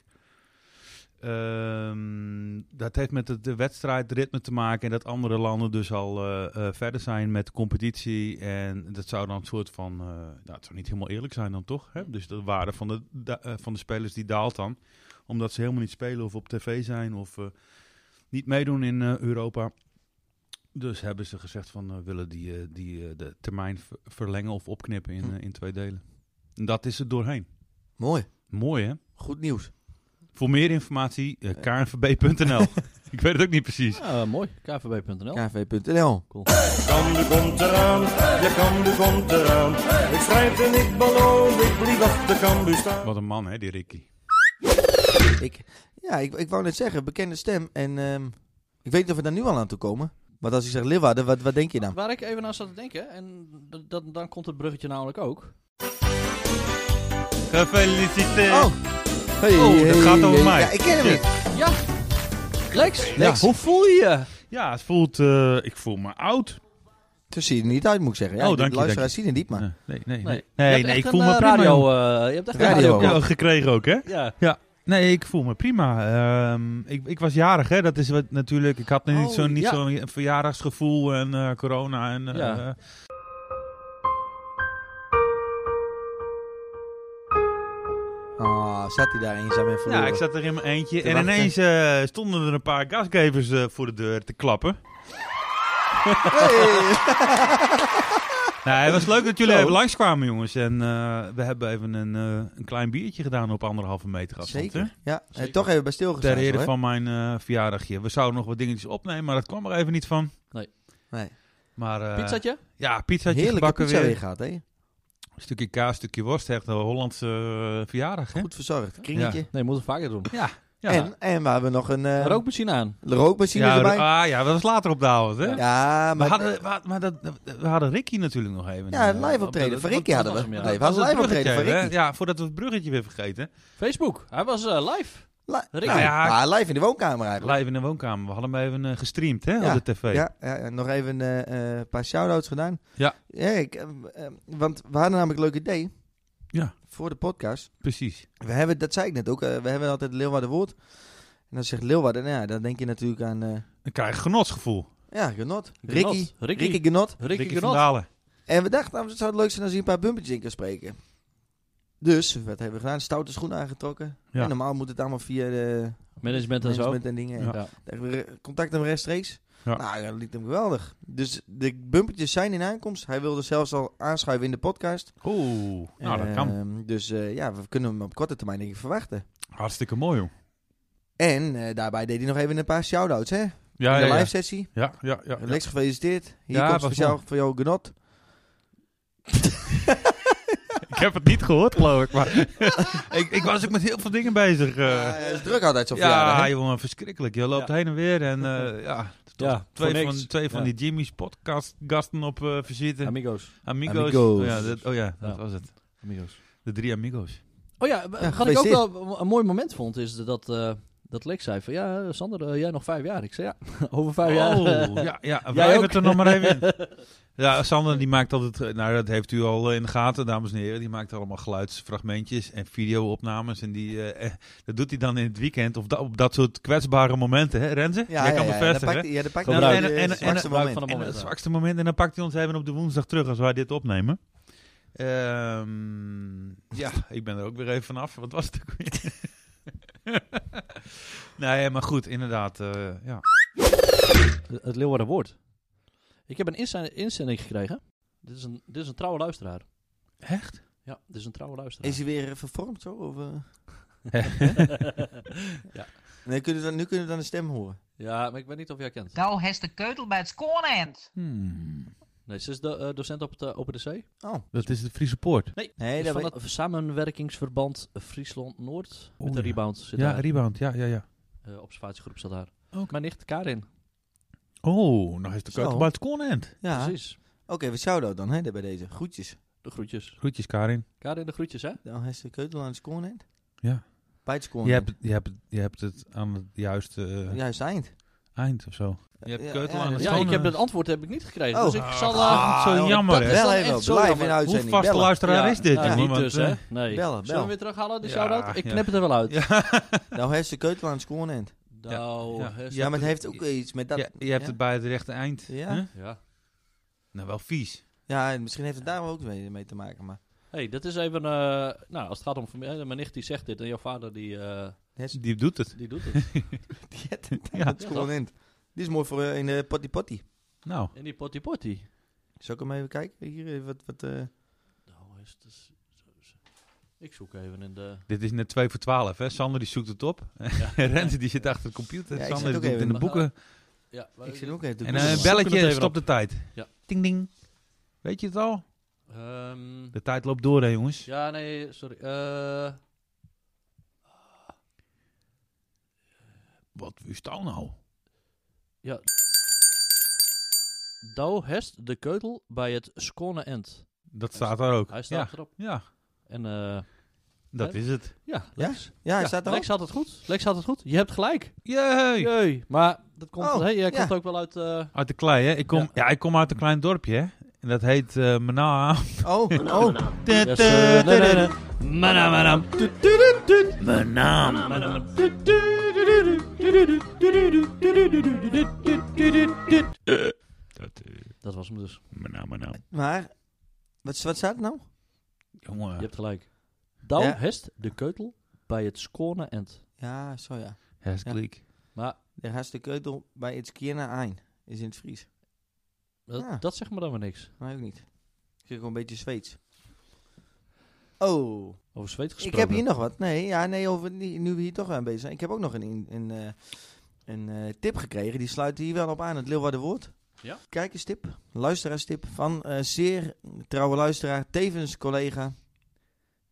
[SPEAKER 2] Ehm, dat heeft met het de wedstrijdritme te maken en dat andere landen dus al eh, eh, verder zijn met de competitie. En dat zou dan een soort van, eh, nou het zou niet helemaal eerlijk zijn dan toch? Hè? Dus de waarde van de, da- eh, van de spelers die daalt dan, omdat ze helemaal niet spelen of op tv zijn of eh, niet meedoen in eh, Europa. Dus hebben ze gezegd van eh, willen die, eh, die eh, de termijn ver- verlengen of opknippen in,
[SPEAKER 1] Hm.
[SPEAKER 2] eh, in twee delen. En dat is het doorheen.
[SPEAKER 1] Mooi.
[SPEAKER 2] Mooi hè?
[SPEAKER 1] Goed nieuws.
[SPEAKER 2] Voor meer informatie, eh, knvb.nl. ik weet het ook niet precies.
[SPEAKER 3] Ja, Ah, mooi. kvb.nl.
[SPEAKER 1] KV.nl.
[SPEAKER 5] Kampen komt eraan, de Kampen komt eraan. Ik strijd en ik beloof, ik blijf achter Kampen staan.
[SPEAKER 2] Wat een man, hè, die Ricky.
[SPEAKER 1] Ik, ja, ik, ik wou net zeggen, bekende stem. En ehm, ik weet niet of we daar nu al aan toe komen. Want als ik zeg Leeuwarden, wat, wat denk je dan?
[SPEAKER 3] Waar ik even aan zat te denken, en d- dat- dan komt het bruggetje namelijk ook.
[SPEAKER 2] Gefeliciteerd.
[SPEAKER 1] Oh, hey,
[SPEAKER 2] Oh, dat
[SPEAKER 1] hey,
[SPEAKER 2] Eh. gaat over
[SPEAKER 1] hey.
[SPEAKER 2] mij.
[SPEAKER 1] Ja, ik ken hem
[SPEAKER 2] Shit.
[SPEAKER 1] niet.
[SPEAKER 3] Ja. Lex,
[SPEAKER 1] Lex.
[SPEAKER 3] hoe voel je je?
[SPEAKER 2] Ja, het voelt, eh, ik voel me oud.
[SPEAKER 1] Dus zie je er niet uit, moet ik zeggen. Ja,
[SPEAKER 2] Oh,
[SPEAKER 1] de
[SPEAKER 2] dank je,
[SPEAKER 1] luisteraars zien het niet, maar...
[SPEAKER 2] Nee, nee, nee.
[SPEAKER 3] Nee,
[SPEAKER 2] Nee,
[SPEAKER 3] Je
[SPEAKER 2] nee,
[SPEAKER 3] hebt echt
[SPEAKER 2] ik voel
[SPEAKER 3] een,
[SPEAKER 2] me
[SPEAKER 3] eh,
[SPEAKER 2] prima.
[SPEAKER 3] radio,
[SPEAKER 2] jongen.
[SPEAKER 3] eh, je hebt echt
[SPEAKER 1] Radio.
[SPEAKER 3] een radio.
[SPEAKER 2] Ja, gekregen ook, hè?
[SPEAKER 3] Ja.
[SPEAKER 2] Nee, ik voel me prima. Ehm, ik, ik was jarig, hè? Dat is wat natuurlijk. Ik had
[SPEAKER 3] Oh,
[SPEAKER 2] niet zo'n niet
[SPEAKER 3] ja.
[SPEAKER 2] zo'n verjaardagsgevoel en eh, corona en. eh,
[SPEAKER 3] Ja.
[SPEAKER 1] Ah, zat hij daar eenzaam en verloren.
[SPEAKER 2] Ja, ik zat er in mijn eentje.
[SPEAKER 1] Te
[SPEAKER 2] en
[SPEAKER 1] wachten.
[SPEAKER 2] ineens eh, stonden er een paar gasgevers eh, voor de deur te klappen. nou, het was leuk dat jullie
[SPEAKER 1] Zo.
[SPEAKER 2] even langskwamen, jongens. En eh, we hebben even een, eh, een klein biertje gedaan op anderhalve meter afstand. hè?
[SPEAKER 1] Zeker. Ja, eh,
[SPEAKER 3] Zeker.
[SPEAKER 1] toch even bij
[SPEAKER 2] Ter
[SPEAKER 1] stilgestaan.
[SPEAKER 2] ere
[SPEAKER 1] hoor.
[SPEAKER 2] van mijn eh, verjaardagje. We zouden nog wat dingetjes opnemen, maar dat kwam er even niet van.
[SPEAKER 1] Nee.
[SPEAKER 2] Maar, eh,
[SPEAKER 3] Pizzatje?
[SPEAKER 2] Ja, pizzaatje
[SPEAKER 1] Heerlijke
[SPEAKER 2] gebakken
[SPEAKER 1] pizza
[SPEAKER 2] weer.
[SPEAKER 1] weer gehad, hè?
[SPEAKER 2] Een stukje kaas, stukje worst. Echt een Hollandse eh, verjaardag, hè?
[SPEAKER 1] Goed verzorgd. Kringetje.
[SPEAKER 3] Nee, moet het vaker doen.
[SPEAKER 2] Ja.
[SPEAKER 1] En, en we hebben nog een eh,
[SPEAKER 3] Rookmachine aan.
[SPEAKER 1] rookmachine
[SPEAKER 2] ja,
[SPEAKER 1] erbij.
[SPEAKER 2] ah, ja, dat was later op de avond, hè?
[SPEAKER 1] Ja,
[SPEAKER 2] We
[SPEAKER 1] maar...
[SPEAKER 2] hadden, we, had- maar dat, we hadden Ricky natuurlijk nog even.
[SPEAKER 1] Ja, een
[SPEAKER 2] eh,
[SPEAKER 1] live
[SPEAKER 2] op de-
[SPEAKER 1] optreden. Van
[SPEAKER 2] dat-
[SPEAKER 1] Ricky
[SPEAKER 3] dat
[SPEAKER 1] hadden we.
[SPEAKER 3] was hem, ja.
[SPEAKER 1] Nee, we
[SPEAKER 2] dat
[SPEAKER 1] hadden een
[SPEAKER 2] was het
[SPEAKER 1] live optreden van
[SPEAKER 2] bruggetje, hè?
[SPEAKER 1] Ricky.
[SPEAKER 2] Ja, voordat we het bruggetje weer vergeten.
[SPEAKER 3] Facebook. Hij was eh, live.
[SPEAKER 1] Li-
[SPEAKER 3] Ricky.
[SPEAKER 1] Nou,
[SPEAKER 2] Ja.
[SPEAKER 1] maar live in de woonkamer eigenlijk.
[SPEAKER 2] Live in de woonkamer. We hadden hem even eh, gestreamd hè,
[SPEAKER 1] Ja,
[SPEAKER 2] op de tv.
[SPEAKER 1] Ja, ja, ja, nog even eh, eh, een paar shout-outs gedaan.
[SPEAKER 2] Ja.
[SPEAKER 1] ik, eh, eh, want we hadden namelijk een leuk idee.
[SPEAKER 2] Ja.
[SPEAKER 1] Voor de podcast.
[SPEAKER 2] Precies.
[SPEAKER 1] We hebben, dat zei ik net ook, eh, we hebben altijd Leeuwarden Woord. En dan zegt Leeuwarden, nou ja, dan denk je natuurlijk aan, eh,
[SPEAKER 2] Dan krijg je genotsgevoel.
[SPEAKER 1] ja, Genot.
[SPEAKER 3] Genot.
[SPEAKER 1] Ricky.
[SPEAKER 3] Ricky.
[SPEAKER 1] Ricky. Genot.
[SPEAKER 3] Ricky,
[SPEAKER 2] Ricky van
[SPEAKER 3] Genot.
[SPEAKER 2] Dalen.
[SPEAKER 1] En we dachten, nou, het zou het leuk zijn als hij een paar bumpertjes in kan spreken. Dus, wat hebben we gedaan? Stoute schoenen aangetrokken.
[SPEAKER 2] Ja.
[SPEAKER 1] En normaal moet het allemaal via de
[SPEAKER 3] Management en zo.
[SPEAKER 1] management en dingen.
[SPEAKER 2] Ja.
[SPEAKER 1] En dachten we, eh, Contact hem rechtstreeks.
[SPEAKER 2] Ja.
[SPEAKER 1] Nou, dat liet hem geweldig. Dus de bumpertjes zijn in aankomst. Hij wilde zelfs al aanschuiven in de podcast.
[SPEAKER 2] Oeh, nou dat kan.
[SPEAKER 1] Ehm, dus eh, ja, we kunnen hem op korte termijn denk ik verwachten.
[SPEAKER 2] Hartstikke mooi, joh.
[SPEAKER 1] En eh, daarbij deed hij nog even een paar shout-outs, hè?
[SPEAKER 2] Ja,
[SPEAKER 1] in de
[SPEAKER 2] ja, ja.
[SPEAKER 1] live sessie.
[SPEAKER 2] ja, ja, ja, ja.
[SPEAKER 1] Lex, gefeliciteerd. Hier
[SPEAKER 2] Ja,
[SPEAKER 1] komt
[SPEAKER 2] was
[SPEAKER 1] speciaal voor jou genot.
[SPEAKER 2] Ik heb het niet gehoord, geloof ik. Maar ik, ik was ook met heel veel dingen bezig. eh.
[SPEAKER 1] Ja, hij is druk altijd zo
[SPEAKER 2] ja,
[SPEAKER 1] verjaardag, hè?
[SPEAKER 2] jongen, verschrikkelijk. Je loopt
[SPEAKER 3] Ja.
[SPEAKER 2] heen en weer. En eh, ja,
[SPEAKER 3] Ja, voor
[SPEAKER 2] twee,
[SPEAKER 3] niks.
[SPEAKER 2] van, twee van
[SPEAKER 3] Ja.
[SPEAKER 2] die Jimmy's podcast gasten op eh,
[SPEAKER 3] Ja.
[SPEAKER 2] verzitten.
[SPEAKER 3] Amigos.
[SPEAKER 2] Amigos.
[SPEAKER 1] Amigos.
[SPEAKER 2] Oh ja, dat, oh ja, dat
[SPEAKER 3] Ja.
[SPEAKER 2] was het.
[SPEAKER 3] Amigos.
[SPEAKER 2] De drie amigos.
[SPEAKER 3] Oh ja, w- wat ik ook
[SPEAKER 1] gefeliciteerd.
[SPEAKER 3] wel een mooi moment vond, is dat, eh dat Lex zei van, ja eh, Sander, eh, jij nog vijf jaar. Ik zei, ja, over vijf jaar.
[SPEAKER 2] Oh, ja, ja.
[SPEAKER 3] Jij
[SPEAKER 2] Wij hebben
[SPEAKER 3] ook?
[SPEAKER 2] het er nog maar even in. Ja, Sander die maakt altijd, eh, nou dat heeft u al eh, in de gaten, dames en heren. Die maakt allemaal geluidsfragmentjes en videoopnames. En die, eh, eh, dat doet hij dan in het weekend of da- op dat soort kwetsbare momenten, hè Renze? Jij kan
[SPEAKER 1] dan
[SPEAKER 2] bevestigen,
[SPEAKER 1] pakt hij- ja, dan pakt
[SPEAKER 3] Kom
[SPEAKER 1] hij
[SPEAKER 3] eruit.
[SPEAKER 1] het, eh,
[SPEAKER 2] En- en- en-
[SPEAKER 1] zwakste
[SPEAKER 3] en-
[SPEAKER 1] moment.
[SPEAKER 3] van hem.
[SPEAKER 2] En
[SPEAKER 3] moment,
[SPEAKER 2] het
[SPEAKER 3] ja.
[SPEAKER 2] zwakste moment, en dan pakt hij ons even op de woensdag terug als wij dit opnemen. Ehm, ja, ik ben er ook weer even vanaf. Wat was het ook weer? nee, maar goed, inderdaad. eh, ja.
[SPEAKER 3] Het Leeuwarden Woord. Ik heb een inzend- inzending gekregen. Dit is, een, dit is een trouwe luisteraar.
[SPEAKER 2] Echt?
[SPEAKER 3] Ja, dit is een trouwe luisteraar.
[SPEAKER 1] Is hij weer eh, vervormd zo? Of, eh?
[SPEAKER 3] ja.
[SPEAKER 1] Nee, kunnen we, dan- nu kunnen we dan de stem horen.
[SPEAKER 3] ja, maar ik weet niet of jij kent.
[SPEAKER 6] Go has de Nou, keutel bij het scorenend.
[SPEAKER 2] Hmm,
[SPEAKER 3] Nee, ze is de, eh, docent op het eh, Open de Zee.
[SPEAKER 1] Oh,
[SPEAKER 2] dat is de Friese Poort.
[SPEAKER 3] Nee,
[SPEAKER 1] nee,
[SPEAKER 3] is
[SPEAKER 1] dat
[SPEAKER 3] van
[SPEAKER 1] weet-
[SPEAKER 3] het samenwerkingsverband Friesland-Noord.
[SPEAKER 2] Oh,
[SPEAKER 3] met de
[SPEAKER 2] ja.
[SPEAKER 3] rebound zit
[SPEAKER 2] Ja,
[SPEAKER 3] daar.
[SPEAKER 2] rebound. Ja, ja, ja.
[SPEAKER 3] Eh, observatiegroep zat daar.
[SPEAKER 2] Oké.
[SPEAKER 3] Maar nicht Karin.
[SPEAKER 2] Oh, nog eens de
[SPEAKER 1] Zo.
[SPEAKER 2] keutel bij het Conant.
[SPEAKER 1] ja. Oké,
[SPEAKER 3] Precies.
[SPEAKER 1] we zouden dan hè, bij deze. Groetjes.
[SPEAKER 3] De groetjes.
[SPEAKER 2] Groetjes, Karin.
[SPEAKER 3] Karin, de groetjes, hè?
[SPEAKER 1] Dan is de keutel aan het scoren.
[SPEAKER 2] Ja.
[SPEAKER 1] Bij het
[SPEAKER 2] Je hebt,
[SPEAKER 1] scoren.
[SPEAKER 2] je, hebt, je hebt het aan het juiste eh,
[SPEAKER 1] Juist eind.
[SPEAKER 2] eind of zo. Je hebt
[SPEAKER 1] Ja,
[SPEAKER 2] keutel
[SPEAKER 1] ja,
[SPEAKER 2] aan het
[SPEAKER 1] Dat is
[SPEAKER 3] Ja,
[SPEAKER 2] schone-
[SPEAKER 3] ik heb het antwoord heb ik niet gekregen.
[SPEAKER 1] Oh.
[SPEAKER 3] Dus ik zal... eh,
[SPEAKER 2] Ah, zo jammer,
[SPEAKER 3] dat
[SPEAKER 2] hè?
[SPEAKER 3] is dan
[SPEAKER 1] Bel
[SPEAKER 3] echt
[SPEAKER 1] even op,
[SPEAKER 3] zo
[SPEAKER 1] live
[SPEAKER 3] jammer.
[SPEAKER 1] in
[SPEAKER 2] Hoe
[SPEAKER 1] uitzending.
[SPEAKER 2] vaste
[SPEAKER 1] Bellen.
[SPEAKER 2] luisteraar
[SPEAKER 3] Ja,
[SPEAKER 2] is dit?
[SPEAKER 3] nou,
[SPEAKER 2] jongen?
[SPEAKER 3] niet
[SPEAKER 2] Want,
[SPEAKER 3] dus,
[SPEAKER 2] eh,
[SPEAKER 3] hè?
[SPEAKER 1] Bellen,
[SPEAKER 3] Nee.
[SPEAKER 1] bel.
[SPEAKER 3] Zullen we hem weer terughalen, de
[SPEAKER 2] Ja,
[SPEAKER 3] shout-out? Ik
[SPEAKER 2] ja.
[SPEAKER 3] knip het er wel uit.
[SPEAKER 2] Ja.
[SPEAKER 1] Nou, heeft de keutel aan het scoren.
[SPEAKER 3] Nou,
[SPEAKER 2] Ja.
[SPEAKER 3] hè,
[SPEAKER 1] Ja, maar het heeft ook iets met dat.
[SPEAKER 2] Ja,
[SPEAKER 1] Ja,
[SPEAKER 2] je hebt het bij het rechte eind.
[SPEAKER 1] Ja.
[SPEAKER 2] hè?
[SPEAKER 3] Ja.
[SPEAKER 2] Nou, wel vies.
[SPEAKER 1] en misschien heeft het daar ook mee, mee te maken. Maar
[SPEAKER 3] hey, dat is even... eh, nou, als het gaat om... familie- hè, Mijn nicht die zegt dit en jouw vader die, eh,
[SPEAKER 2] Die doet het.
[SPEAKER 3] die doet het.
[SPEAKER 1] die heeft het
[SPEAKER 2] Ja.
[SPEAKER 1] aan het scoren. Dit is mooi voor eh, in de potty potty.
[SPEAKER 2] Nou,
[SPEAKER 3] en die potty potty.
[SPEAKER 1] Zal ik hem even kijken? Hier, eh, wat, wat, eh,
[SPEAKER 3] Nou, is het- is- zo- zo. Ik zoek even in de...
[SPEAKER 2] dit is net 2 voor 12, hè? Sander die zoekt het op. Renze die zit achter de computer.
[SPEAKER 1] Ja, ik
[SPEAKER 2] Sander
[SPEAKER 1] zit ook
[SPEAKER 2] doet het in
[SPEAKER 1] even.
[SPEAKER 2] de boeken.
[SPEAKER 3] Ja,
[SPEAKER 1] ik zit ook even te
[SPEAKER 2] En
[SPEAKER 1] googlen, man.
[SPEAKER 2] eh, een
[SPEAKER 3] Zoeken het
[SPEAKER 2] belletje
[SPEAKER 3] even
[SPEAKER 2] stopt
[SPEAKER 3] op.
[SPEAKER 2] de tijd.
[SPEAKER 3] Ja.
[SPEAKER 2] Ding ding. Weet je het al?
[SPEAKER 3] Ehm,
[SPEAKER 2] De tijd loopt door, hè, jongens.
[SPEAKER 3] ja, nee, sorry. Eh,
[SPEAKER 2] Wat wist al nou?
[SPEAKER 3] ja. Douw hest de keutel bij het schone end.
[SPEAKER 2] Dat staat daar ook.
[SPEAKER 3] Hij staat
[SPEAKER 2] ja.
[SPEAKER 3] erop.
[SPEAKER 2] ja.
[SPEAKER 3] En eh,
[SPEAKER 2] Dat is het.
[SPEAKER 3] Ja,
[SPEAKER 1] Ja?
[SPEAKER 3] Lex.
[SPEAKER 1] Ja, hij
[SPEAKER 3] Ja,
[SPEAKER 1] staat er
[SPEAKER 3] Lex had het goed. Lex had het goed. Je hebt gelijk.
[SPEAKER 2] Jee!
[SPEAKER 3] Jee. Maar dat komt,
[SPEAKER 1] Oh,
[SPEAKER 3] hey, jij
[SPEAKER 1] ja.
[SPEAKER 3] komt ook wel uit... eh,
[SPEAKER 2] Uit de klei, hè? Ik kom, ja.
[SPEAKER 3] Ja.
[SPEAKER 2] ik kom uit een klein dorpje, hè? En dat heet eh Mana.
[SPEAKER 1] al. Oh, oh.
[SPEAKER 3] yes, eh, nee, nee, nee. Manam, manam.
[SPEAKER 2] eh,
[SPEAKER 3] Dat was hem dus.
[SPEAKER 2] Mana, Mana.
[SPEAKER 1] Maar, wat, wat staat er nou?
[SPEAKER 3] Je
[SPEAKER 2] Jongen.
[SPEAKER 3] hebt gelijk. Douw
[SPEAKER 1] Ja.
[SPEAKER 3] hest de keutel bij het scorne end.
[SPEAKER 1] Ja, zo ja.
[SPEAKER 2] Hersklik.
[SPEAKER 3] Maar
[SPEAKER 1] De haast keutel bij het Skierna Ein is in het Fries.
[SPEAKER 3] dat,
[SPEAKER 1] Ja.
[SPEAKER 3] dat zegt me dan weer niks.
[SPEAKER 1] Maar ook niet. Ik kreeg wel een beetje Zweeds. Oh,
[SPEAKER 3] Over zweet
[SPEAKER 1] ik
[SPEAKER 3] gesproken.
[SPEAKER 1] heb hier nog wat. Nee, ja, nee over, nu nu we hier toch aan bezig zijn. Ik heb ook nog een, in- een, eh, een eh, tip gekregen. Die sluit hier wel op aan. Het Leeuwarden Woord.
[SPEAKER 3] Ja?
[SPEAKER 1] Kijkerstip, luisteraarstip van eh, zeer trouwe luisteraar, tevens collega.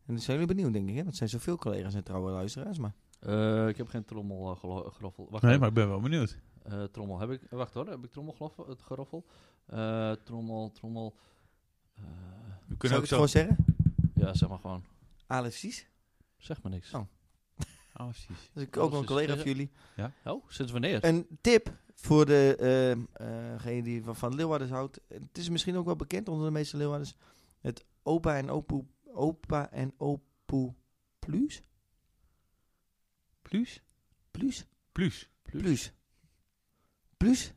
[SPEAKER 1] En dat zijn jullie benieuwd, denk ik. Hè? Want er zijn zoveel collega's en trouwe luisteraars. Maar
[SPEAKER 3] Eh, ik heb geen trommel eh, gelo- geroffel. Wacht
[SPEAKER 2] Nee,
[SPEAKER 3] even.
[SPEAKER 2] maar ik ben wel benieuwd.
[SPEAKER 3] Eh, trommel heb ik. eh, Wacht hoor, heb ik trommel geroffel? Het geroffel? Eh, trommel, trommel. Eh,
[SPEAKER 2] We
[SPEAKER 1] zou
[SPEAKER 2] kunnen
[SPEAKER 1] ik het
[SPEAKER 2] ook zo...
[SPEAKER 1] gewoon zeggen?
[SPEAKER 3] ja, zeg maar gewoon.
[SPEAKER 1] Alex Sies.
[SPEAKER 3] Zeg maar niks.
[SPEAKER 1] Oh.
[SPEAKER 2] Oh, precies.
[SPEAKER 1] Dat is ook
[SPEAKER 3] Alex
[SPEAKER 1] wel een
[SPEAKER 3] Sies.
[SPEAKER 1] collega van jullie.
[SPEAKER 3] Oh, sinds wanneer?
[SPEAKER 1] Een tip voor de, eh, eh, degene die van, van Leeuwarders houdt. Het is misschien ook wel bekend onder de meeste Leeuwarders. Het opa en opoe, opa en opoe plus?
[SPEAKER 2] Plus?
[SPEAKER 1] Plus?
[SPEAKER 2] Plus.
[SPEAKER 1] Plus. Plus?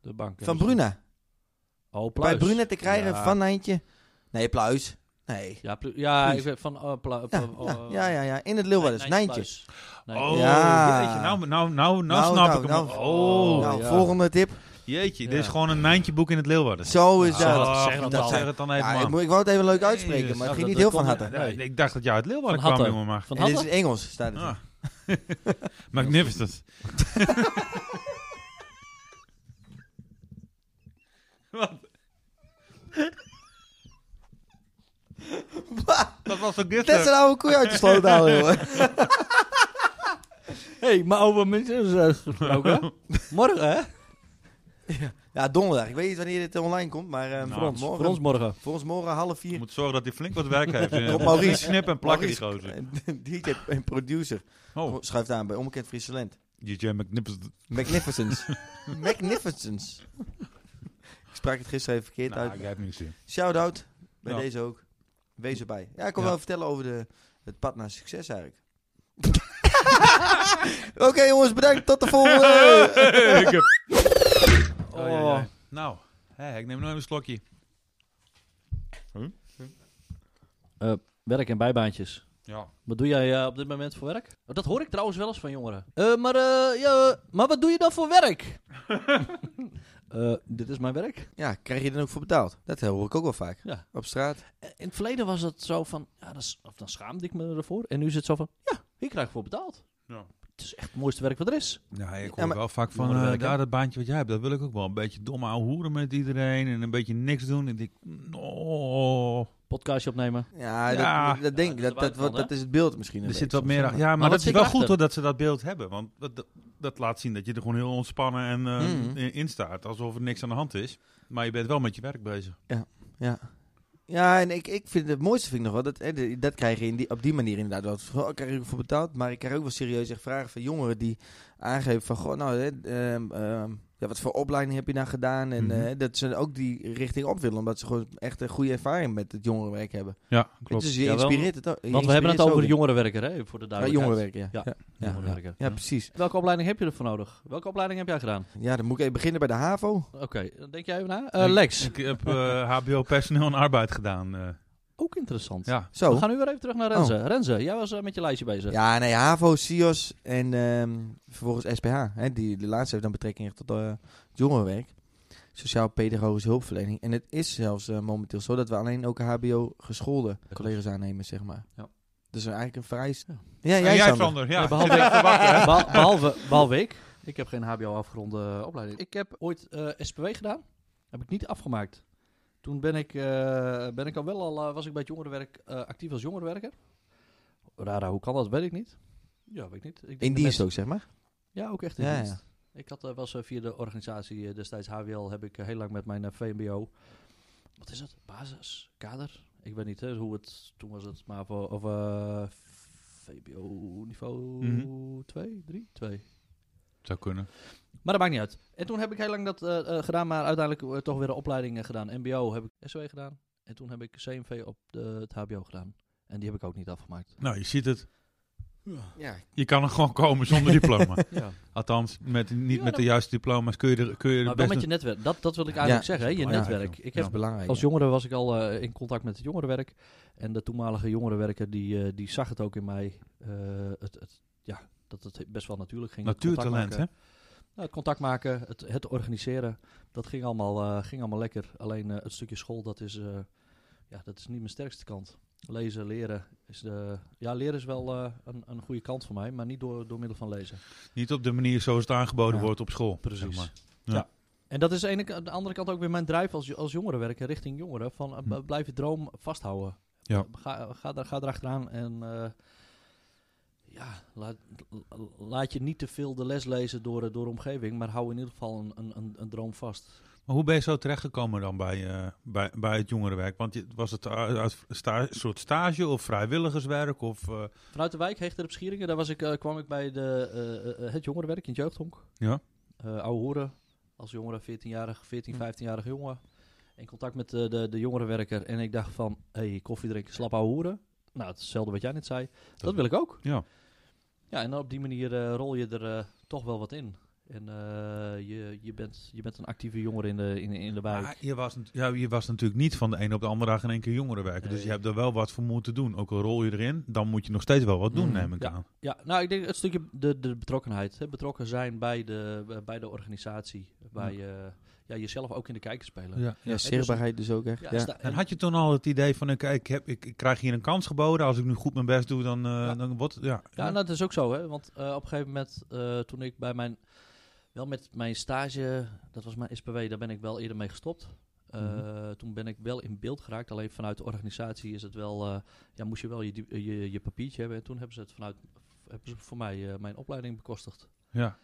[SPEAKER 3] De bank. eh,
[SPEAKER 1] Van Bruna.
[SPEAKER 3] Oh,
[SPEAKER 1] Bij
[SPEAKER 3] dus pluis.
[SPEAKER 1] Bruna te krijgen
[SPEAKER 3] Ja.
[SPEAKER 1] van Nijntje. Nee, pluis. Nee.
[SPEAKER 3] Ja, plu- ja
[SPEAKER 1] Pluis.
[SPEAKER 3] ik weet van... eh, pla-
[SPEAKER 1] Ja,
[SPEAKER 3] pla-
[SPEAKER 1] ja,
[SPEAKER 3] eh,
[SPEAKER 1] ja, ja, ja. In het Leeuwarders.
[SPEAKER 3] Nijntje
[SPEAKER 1] Nijntje.
[SPEAKER 3] pluis. Nijntje.
[SPEAKER 2] Oh,
[SPEAKER 1] Ja.
[SPEAKER 2] jeetje, nou, nou, nou, nou,
[SPEAKER 1] Nou,
[SPEAKER 2] snap
[SPEAKER 1] nou,
[SPEAKER 2] ik hem.
[SPEAKER 1] nou.
[SPEAKER 2] oh,
[SPEAKER 1] nou,
[SPEAKER 3] ja.
[SPEAKER 1] volgende tip.
[SPEAKER 2] jeetje, dit
[SPEAKER 3] Ja.
[SPEAKER 2] is gewoon een Nijntje boek in het Leeuwarden.
[SPEAKER 1] Zo is
[SPEAKER 3] Ah,
[SPEAKER 1] dat.
[SPEAKER 3] dat zeggen we
[SPEAKER 1] dat
[SPEAKER 3] al.
[SPEAKER 1] zijn-
[SPEAKER 2] zeg het dan even,
[SPEAKER 1] Ja, ik,
[SPEAKER 2] man.
[SPEAKER 1] mo- ik wou het even leuk
[SPEAKER 2] Nee,
[SPEAKER 1] uitspreken,
[SPEAKER 2] dus
[SPEAKER 1] maar het
[SPEAKER 3] dat-
[SPEAKER 1] ging niet
[SPEAKER 3] dat
[SPEAKER 1] heel van
[SPEAKER 3] komt-
[SPEAKER 1] harte.
[SPEAKER 2] Ja, ik dacht dat jij uit Leeuwarden
[SPEAKER 3] Van
[SPEAKER 2] kwam,
[SPEAKER 3] Hattem.
[SPEAKER 2] jongen, maar...
[SPEAKER 3] Van
[SPEAKER 1] En dit is
[SPEAKER 3] Halle?
[SPEAKER 1] in Engels, staat het.
[SPEAKER 2] Ah. Magnificent. Wat? Dat was zo
[SPEAKER 1] Dat is een
[SPEAKER 2] giftig.
[SPEAKER 1] oude koe uit de sloot halen, jongen.
[SPEAKER 3] hey, maar over mensen is gesproken. Morgen, hè?
[SPEAKER 1] Ja, donderdag. Ik weet niet wanneer dit online komt, maar eh,
[SPEAKER 2] Nou,
[SPEAKER 1] voor ons morgen.
[SPEAKER 3] Voor ons morgen.
[SPEAKER 1] voor ons morgen half
[SPEAKER 2] Je
[SPEAKER 1] vier.
[SPEAKER 2] moet zorgen dat hij flink wat werk heeft.
[SPEAKER 1] Rob
[SPEAKER 2] Ja.
[SPEAKER 1] Maurice.
[SPEAKER 2] Die Snippen en plakken die
[SPEAKER 1] Maurice,
[SPEAKER 2] gozer.
[SPEAKER 1] eh, DJ en producer.
[SPEAKER 2] Oh,
[SPEAKER 1] Schuift aan bij Onbekend Friese Talent.
[SPEAKER 2] DJ McNippers.
[SPEAKER 1] Magnificence. Magnificence. Ik sprak het gisteren even verkeerd
[SPEAKER 2] Nou, ik
[SPEAKER 1] uit.
[SPEAKER 2] heb niks in.
[SPEAKER 1] Shout-out. Bij
[SPEAKER 2] Ja.
[SPEAKER 1] deze ook. Wees erbij. Ja, ik kon
[SPEAKER 2] Ja.
[SPEAKER 1] wel vertellen over de, het pad naar succes eigenlijk. Oké jongens, bedankt. Tot de volgende.
[SPEAKER 2] Ik heb-
[SPEAKER 3] Oh,
[SPEAKER 2] Oh, ja, ja. Nou, hè, ik neem nog even een slokje.
[SPEAKER 3] Werk en bijbaantjes.
[SPEAKER 2] Ja.
[SPEAKER 3] Wat doe jij eh, op dit moment voor werk? Oh, dat hoor ik trouwens wel eens van jongeren. Eh, maar, eh, ja, eh, maar wat doe je dan voor werk? Eh, dit is mijn werk.
[SPEAKER 1] Ja, krijg je er dan ook voor betaald? Dat hoor ik ook wel vaak.
[SPEAKER 3] Ja.
[SPEAKER 1] Op straat.
[SPEAKER 3] Eh, In het verleden was het zo van, ja, dat is- of dan schaamde ik me ervoor. En nu is het zo van, ja, hier krijg ik voor betaald.
[SPEAKER 2] Ja.
[SPEAKER 3] Het is echt het mooiste werk wat er is.
[SPEAKER 2] Ja, ik hoor
[SPEAKER 1] Ja, maar-
[SPEAKER 2] wel vaak van,
[SPEAKER 3] Jongen,
[SPEAKER 2] eh,
[SPEAKER 3] werk, hè?
[SPEAKER 2] daar dat baantje wat jij hebt, dat wil ik ook wel. Een beetje domme ouwe hoeren met iedereen en een beetje niks doen. Ik denk, oh,
[SPEAKER 3] Podcastje opnemen.
[SPEAKER 1] Ja,
[SPEAKER 2] Ja.
[SPEAKER 1] dat, dat denk ik.
[SPEAKER 3] Ja,
[SPEAKER 1] Dat, dat,
[SPEAKER 3] buitenland,
[SPEAKER 1] dat, is het beeld misschien. een
[SPEAKER 2] er zit
[SPEAKER 1] beetje
[SPEAKER 2] wat
[SPEAKER 1] soms,
[SPEAKER 2] meer
[SPEAKER 1] hè,
[SPEAKER 2] achter. Ja, maar
[SPEAKER 3] wat
[SPEAKER 2] dat is
[SPEAKER 3] zit
[SPEAKER 2] wel
[SPEAKER 3] erachter?
[SPEAKER 2] goed hoor dat ze dat beeld hebben. Want dat, dat laat zien dat je er gewoon heel ontspannen en eh,
[SPEAKER 1] Mhm.
[SPEAKER 2] in- in staat. Alsof er niks aan de hand is. Maar je bent wel met je werk bezig.
[SPEAKER 1] Ja, en ik, ik vind het mooiste vind ik nog wel, dat, hè, de- dat krijg je in die, op die manier inderdaad wel. Van, Oh, krijg je ervoor betaald, maar ik krijg ook wel serieus echt vragen van jongeren die aangeven van, goh, nou, hè, ehm, ehm, ja, wat voor opleiding heb je nou gedaan? En
[SPEAKER 2] Mhm.
[SPEAKER 1] eh, dat ze ook die richting op willen, omdat ze gewoon echt een goede ervaring met het jongerenwerk hebben.
[SPEAKER 2] Ja,
[SPEAKER 1] Klopt.
[SPEAKER 2] klopt.
[SPEAKER 1] Dus je
[SPEAKER 3] Jawel,
[SPEAKER 1] inspireert het ook. je
[SPEAKER 3] Want we hebben
[SPEAKER 1] inspireert
[SPEAKER 3] het
[SPEAKER 1] ze ook
[SPEAKER 3] over
[SPEAKER 1] in.
[SPEAKER 3] jongerenwerker, hè, voor de
[SPEAKER 1] Ja,
[SPEAKER 3] duidelijkheid.
[SPEAKER 1] jongerenwerk, ja. Ja,
[SPEAKER 3] Ja.
[SPEAKER 1] ja, ja,
[SPEAKER 3] Jongerenwerker.
[SPEAKER 1] Ja, precies.
[SPEAKER 3] Welke opleiding heb je ervoor nodig? Welke opleiding heb jij gedaan?
[SPEAKER 1] Ja, dan moet ik even beginnen bij de HAVO.
[SPEAKER 3] Oké, dan denk jij even na. Eh, Lex,
[SPEAKER 2] Ik heb eh, HBO personeel en arbeid gedaan. eh.
[SPEAKER 3] ook interessant.
[SPEAKER 2] ja.
[SPEAKER 1] Zo.
[SPEAKER 3] We gaan nu weer even terug naar Renze. Renze, jij was eh, met je lijstje bezig.
[SPEAKER 1] Oh. Ja, nee, HAVO, SIOS en ehm, vervolgens SPH. Hè, die, die laatste heeft dan betrekking tot eh, het jongerenwerk. Sociaal-pedagogische hulpverlening. En het is zelfs eh, momenteel zo dat we alleen ook HBO-geschoolde collega's aannemen, zeg maar.
[SPEAKER 3] Ja.
[SPEAKER 1] Dus eigenlijk een vrij... s-
[SPEAKER 3] Ja.
[SPEAKER 1] Ja,
[SPEAKER 2] En
[SPEAKER 1] jij,
[SPEAKER 2] jij,
[SPEAKER 1] Sander.
[SPEAKER 2] Sander. Ja,
[SPEAKER 3] Nee, behalve, ik, Behal- behalve, behalve ik. Ik heb geen HBO afgeronde eh, opleiding. Ik heb ooit eh, SPW gedaan. Heb ik niet afgemaakt. Toen ben ik, eh, ben ik al wel al, eh, was ik bij het jongerenwerk eh, actief als jongerenwerker. Rara, hoe kan dat? Weet ik niet. Ja, weet ik niet. Ik denk
[SPEAKER 1] In
[SPEAKER 3] net-
[SPEAKER 1] dienst ook, zeg maar.
[SPEAKER 3] Ja, ook echt in
[SPEAKER 1] Ja,
[SPEAKER 3] dienst. Ik had, eh, was eh, via de organisatie eh, destijds HWL, heb ik eh, heel lang met mijn eh, VMBO, wat is het, basis, kader Ik weet niet hè, hoe het, toen was het maar voor, of eh, VBO niveau
[SPEAKER 2] Mhm.
[SPEAKER 3] 2, 3, 2.
[SPEAKER 2] Zou kunnen.
[SPEAKER 3] Maar dat maakt niet uit. En toen heb ik heel lang dat eh, eh, gedaan, maar uiteindelijk eh, toch weer een opleiding eh, gedaan. MBO heb ik SW gedaan. En toen heb ik CMV op de, het HBO gedaan. En die heb ik ook niet afgemaakt.
[SPEAKER 2] Nou, je ziet het.
[SPEAKER 1] Ja,
[SPEAKER 2] Je kan er gewoon komen zonder diploma.
[SPEAKER 3] Ja.
[SPEAKER 2] Althans, met, niet
[SPEAKER 3] Ja,
[SPEAKER 2] met de
[SPEAKER 3] dat-
[SPEAKER 2] juiste diploma's kun je er, kun je er
[SPEAKER 3] Maar wel
[SPEAKER 2] best...
[SPEAKER 3] met je
[SPEAKER 2] een-
[SPEAKER 3] netwerk. Dat, dat wil ik eigenlijk
[SPEAKER 1] Ja,
[SPEAKER 3] zeggen, hè, je
[SPEAKER 1] belangrijk,
[SPEAKER 3] netwerk. Ik
[SPEAKER 1] dat
[SPEAKER 3] heb
[SPEAKER 1] is belangrijk.
[SPEAKER 3] Als
[SPEAKER 1] ja.
[SPEAKER 3] jongere was ik al eh, in contact met het jongerenwerk. En de toenmalige jongerenwerker die, eh, die zag het ook in mij. eh, het, het, ja, dat het best wel natuurlijk ging. Het contact
[SPEAKER 2] Natuurtalent,
[SPEAKER 3] maken.
[SPEAKER 2] hè?
[SPEAKER 3] Nou, het contact maken, het, het organiseren. Dat ging allemaal, eh, ging allemaal lekker. Alleen eh, het stukje school, dat is, eh, ja, dat is niet mijn sterkste kant. Lezen, leren. Is de, ja, leren is wel eh, een, een goede kant voor mij, maar niet door, door middel van lezen.
[SPEAKER 2] Niet op de manier zoals het aangeboden
[SPEAKER 3] Ja,
[SPEAKER 2] wordt op school. zeg maar. Ja.
[SPEAKER 3] En dat is de ene, aan de andere kant ook weer mijn drijf als, als jongerenwerker richting jongeren. Van, eh,
[SPEAKER 2] Hm.
[SPEAKER 3] b- Blijf je droom vasthouden.
[SPEAKER 2] Ja.
[SPEAKER 3] Ga, ga, daar- ga erachteraan en eh, ja, laat, laat je niet te veel de les lezen door, eh, door de omgeving. Maar hou in ieder geval een, een, een, een droom vast.
[SPEAKER 2] Maar hoe ben je zo terechtgekomen dan bij, eh, bij, bij het jongerenwerk? Want je- was het uit, uit sta- soort stage of vrijwilligerswerk? Of, eh,
[SPEAKER 3] Vanuit de wijk Hechter op Schieringen, daar was ik, eh, kwam ik bij de, eh, eh, het jongerenwerk in het jeugdhonk.
[SPEAKER 2] ja?
[SPEAKER 3] eh oude hoeren als jongere, 14-jarig, 14, 15-jarige jongen. In contact met eh, de, de jongerenwerker. En ik dacht van, hé, hey, koffie drinken, slap oude hoeren. Nou, het is hetzelfde wat jij net zei. Dat, wil ik ook.
[SPEAKER 2] Ja.
[SPEAKER 3] Ja, en dan op die manier eh, rol je er eh, toch wel wat in. En eh, je, je, bent, je bent een actieve jongere in de, in, in de wijk.
[SPEAKER 2] Ah, je, was, nat- ja, je was natuurlijk niet van de ene op de andere dag in één keer jongerenwerker. Dus
[SPEAKER 3] Nee.
[SPEAKER 2] je hebt er wel wat voor moeten doen. Ook al rol je erin, dan moet je nog steeds wel wat doen,
[SPEAKER 1] Mm,
[SPEAKER 2] neem ik
[SPEAKER 3] ja.
[SPEAKER 2] aan.
[SPEAKER 3] Ja, nou, ik denk het stukje de, de betrokkenheid. Hè, betrokken zijn bij de, eh, bij de organisatie. Bij eh, ja, jezelf ook in de kijker spelen.
[SPEAKER 2] Ja.
[SPEAKER 1] Ja, zichtbaarheid dus ook echt. Ja,
[SPEAKER 3] Ja, sta-
[SPEAKER 2] En had je toen al het idee van, eh, kijk, ik, heb, ik, ik krijg hier een kans geboden. Als ik nu goed mijn best doe, dan, eh,
[SPEAKER 3] Ja.
[SPEAKER 2] dan wordt het... Ja,
[SPEAKER 3] Ja, en dat is ook zo, hè? Want eh, op een gegeven moment, eh, toen ik bij mijn, wel met mijn stage, dat was mijn SPW, daar ben ik wel eerder mee gestopt. Eh,
[SPEAKER 2] Mhm.
[SPEAKER 3] Toen ben ik wel in beeld geraakt, alleen vanuit de organisatie is het wel, eh, ja, moest je wel je, di- eh, je, je papiertje hebben. En toen hebben ze het vanuit, hebben ze voor mij eh, mijn opleiding bekostigd.
[SPEAKER 2] ja.